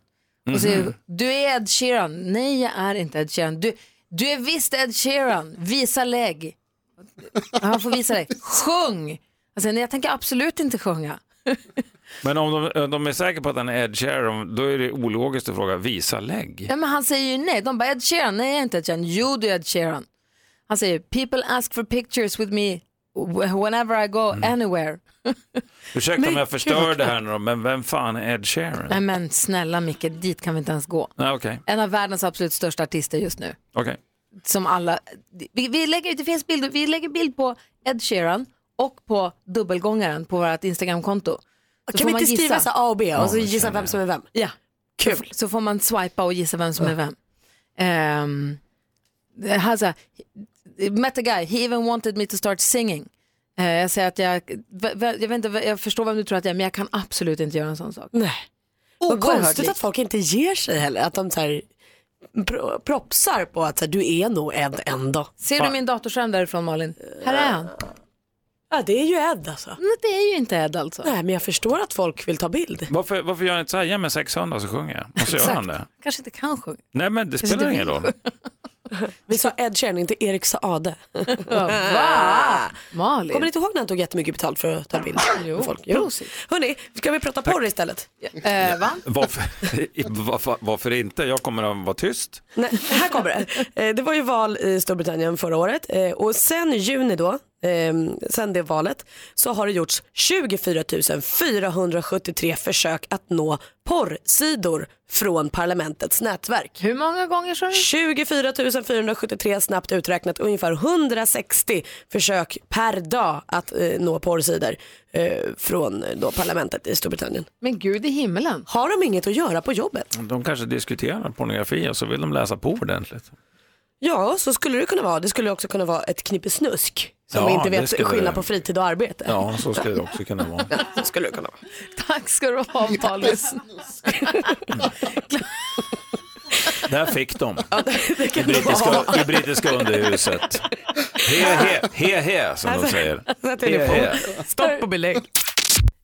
Speaker 1: Och säger,
Speaker 14: Mhm.
Speaker 1: du är Ed Sheeran. Nej, jag är inte Ed Sheeran. Du, du är visst Ed Sheeran. Visa lägg. Han får visa lägg. Sjung! Han säger, nej jag tänker absolut inte sjunga.
Speaker 23: Men om de, om de är säkra på att han är Ed Sheeran, då är det ologiskt att fråga visa lägg.
Speaker 1: Ja, men han säger ju nej. De bara, Ed Sheeran. Nej, jag är inte Ed Sheeran. Jo, du är Ed Sheeran. Han säger, people ask for pictures with me whenever I go anywhere.
Speaker 23: Ursäkta om jag förstör det här nu då, men vem fan är Ed Sheeran?
Speaker 1: Nej men snälla Micke, dit kan vi inte ens gå.
Speaker 23: Nej, okej.
Speaker 1: En av världens absolut största artister just nu.
Speaker 23: Okej.
Speaker 1: Som alla, vi, vi lägger ut, det finns bilder, vi lägger bild på Ed Sheeran och på dubbelgångaren på vårt Instagramkonto. Så
Speaker 3: Kan
Speaker 1: får
Speaker 3: vi
Speaker 1: man
Speaker 3: inte skriva så A och B och så gissa vem som är vem?
Speaker 1: Ja, kul. Så får man swipa och gissa vem som är vem. Ehm, det här så här, met a guy, he even wanted me to start singing. Eh, jag säger att jag, v- v- jag, vet inte, jag förstår vem du tror att jag är men jag kan absolut inte göra en sån sak.
Speaker 3: Nej. Vad
Speaker 1: Oerhört
Speaker 3: konstigt
Speaker 1: lik.
Speaker 3: att folk inte ger sig heller. Att de så här pro- propsar på att så här, du är nog en ändå.
Speaker 1: Ser du min datorskärm därifrån Malin? Här är han.
Speaker 3: Ja, det är ju Ed alltså.
Speaker 1: Nej, det är ju inte Ed alltså.
Speaker 3: Nej, men jag förstår att folk vill ta bild.
Speaker 23: Varför, varför gör han inte så här, ge mig 600 så sjunger jag. Och så gör
Speaker 3: Exakt.
Speaker 23: han det.
Speaker 1: Kanske inte kan sjunga.
Speaker 23: Nej men det
Speaker 3: Kanske
Speaker 23: spelar
Speaker 3: inte
Speaker 23: ingen
Speaker 3: vill
Speaker 23: roll.
Speaker 3: Vi sa Ed Sheeran, inte Erik Saade.
Speaker 1: Va? Malin.
Speaker 3: Kommer ni inte ihåg när han tog jättemycket betalt för att ta bild med folk? Jo. Hörni, ska vi prata porr istället?
Speaker 1: Eh, va?
Speaker 23: Varför, varför, varför inte? Jag kommer att vara tyst.
Speaker 3: Nej, här kommer det. Eh, Det var ju val i Storbritannien förra året eh, och sen i juni då, eh, sen det valet, så har det gjorts 24 473 försök att nå porrsidor från parlamentets nätverk.
Speaker 1: Hur många gånger sa du?
Speaker 3: 24 473 snabbt uträknat, ungefär 160 försök per dag att eh, nå porrsidor eh, från eh, då parlamentet i Storbritannien.
Speaker 1: Men gud i himlen.
Speaker 3: Har de inget att göra på jobbet?
Speaker 23: De kanske diskuterar pornografi och så vill de läsa på ordentligt.
Speaker 3: Ja, så skulle det kunna vara. Det skulle också kunna vara ett knippe snusk som
Speaker 23: Ja,
Speaker 3: vi inte
Speaker 23: det
Speaker 3: vet
Speaker 23: skulle
Speaker 3: skillnad
Speaker 23: det.
Speaker 3: på fritid och arbete.
Speaker 23: Ja, så skulle det också kunna vara.
Speaker 3: Så skulle det kunna vara.
Speaker 1: Tack ska du ha Malin.
Speaker 23: Där fick de.
Speaker 3: det
Speaker 23: I
Speaker 3: kan det
Speaker 23: brittiska,
Speaker 3: vara.
Speaker 23: i brittiska underhuset. He he, he he som de
Speaker 1: Alltså,
Speaker 23: säger.
Speaker 1: sätt er
Speaker 23: He
Speaker 1: på.
Speaker 23: he.
Speaker 3: Stopp och belägg.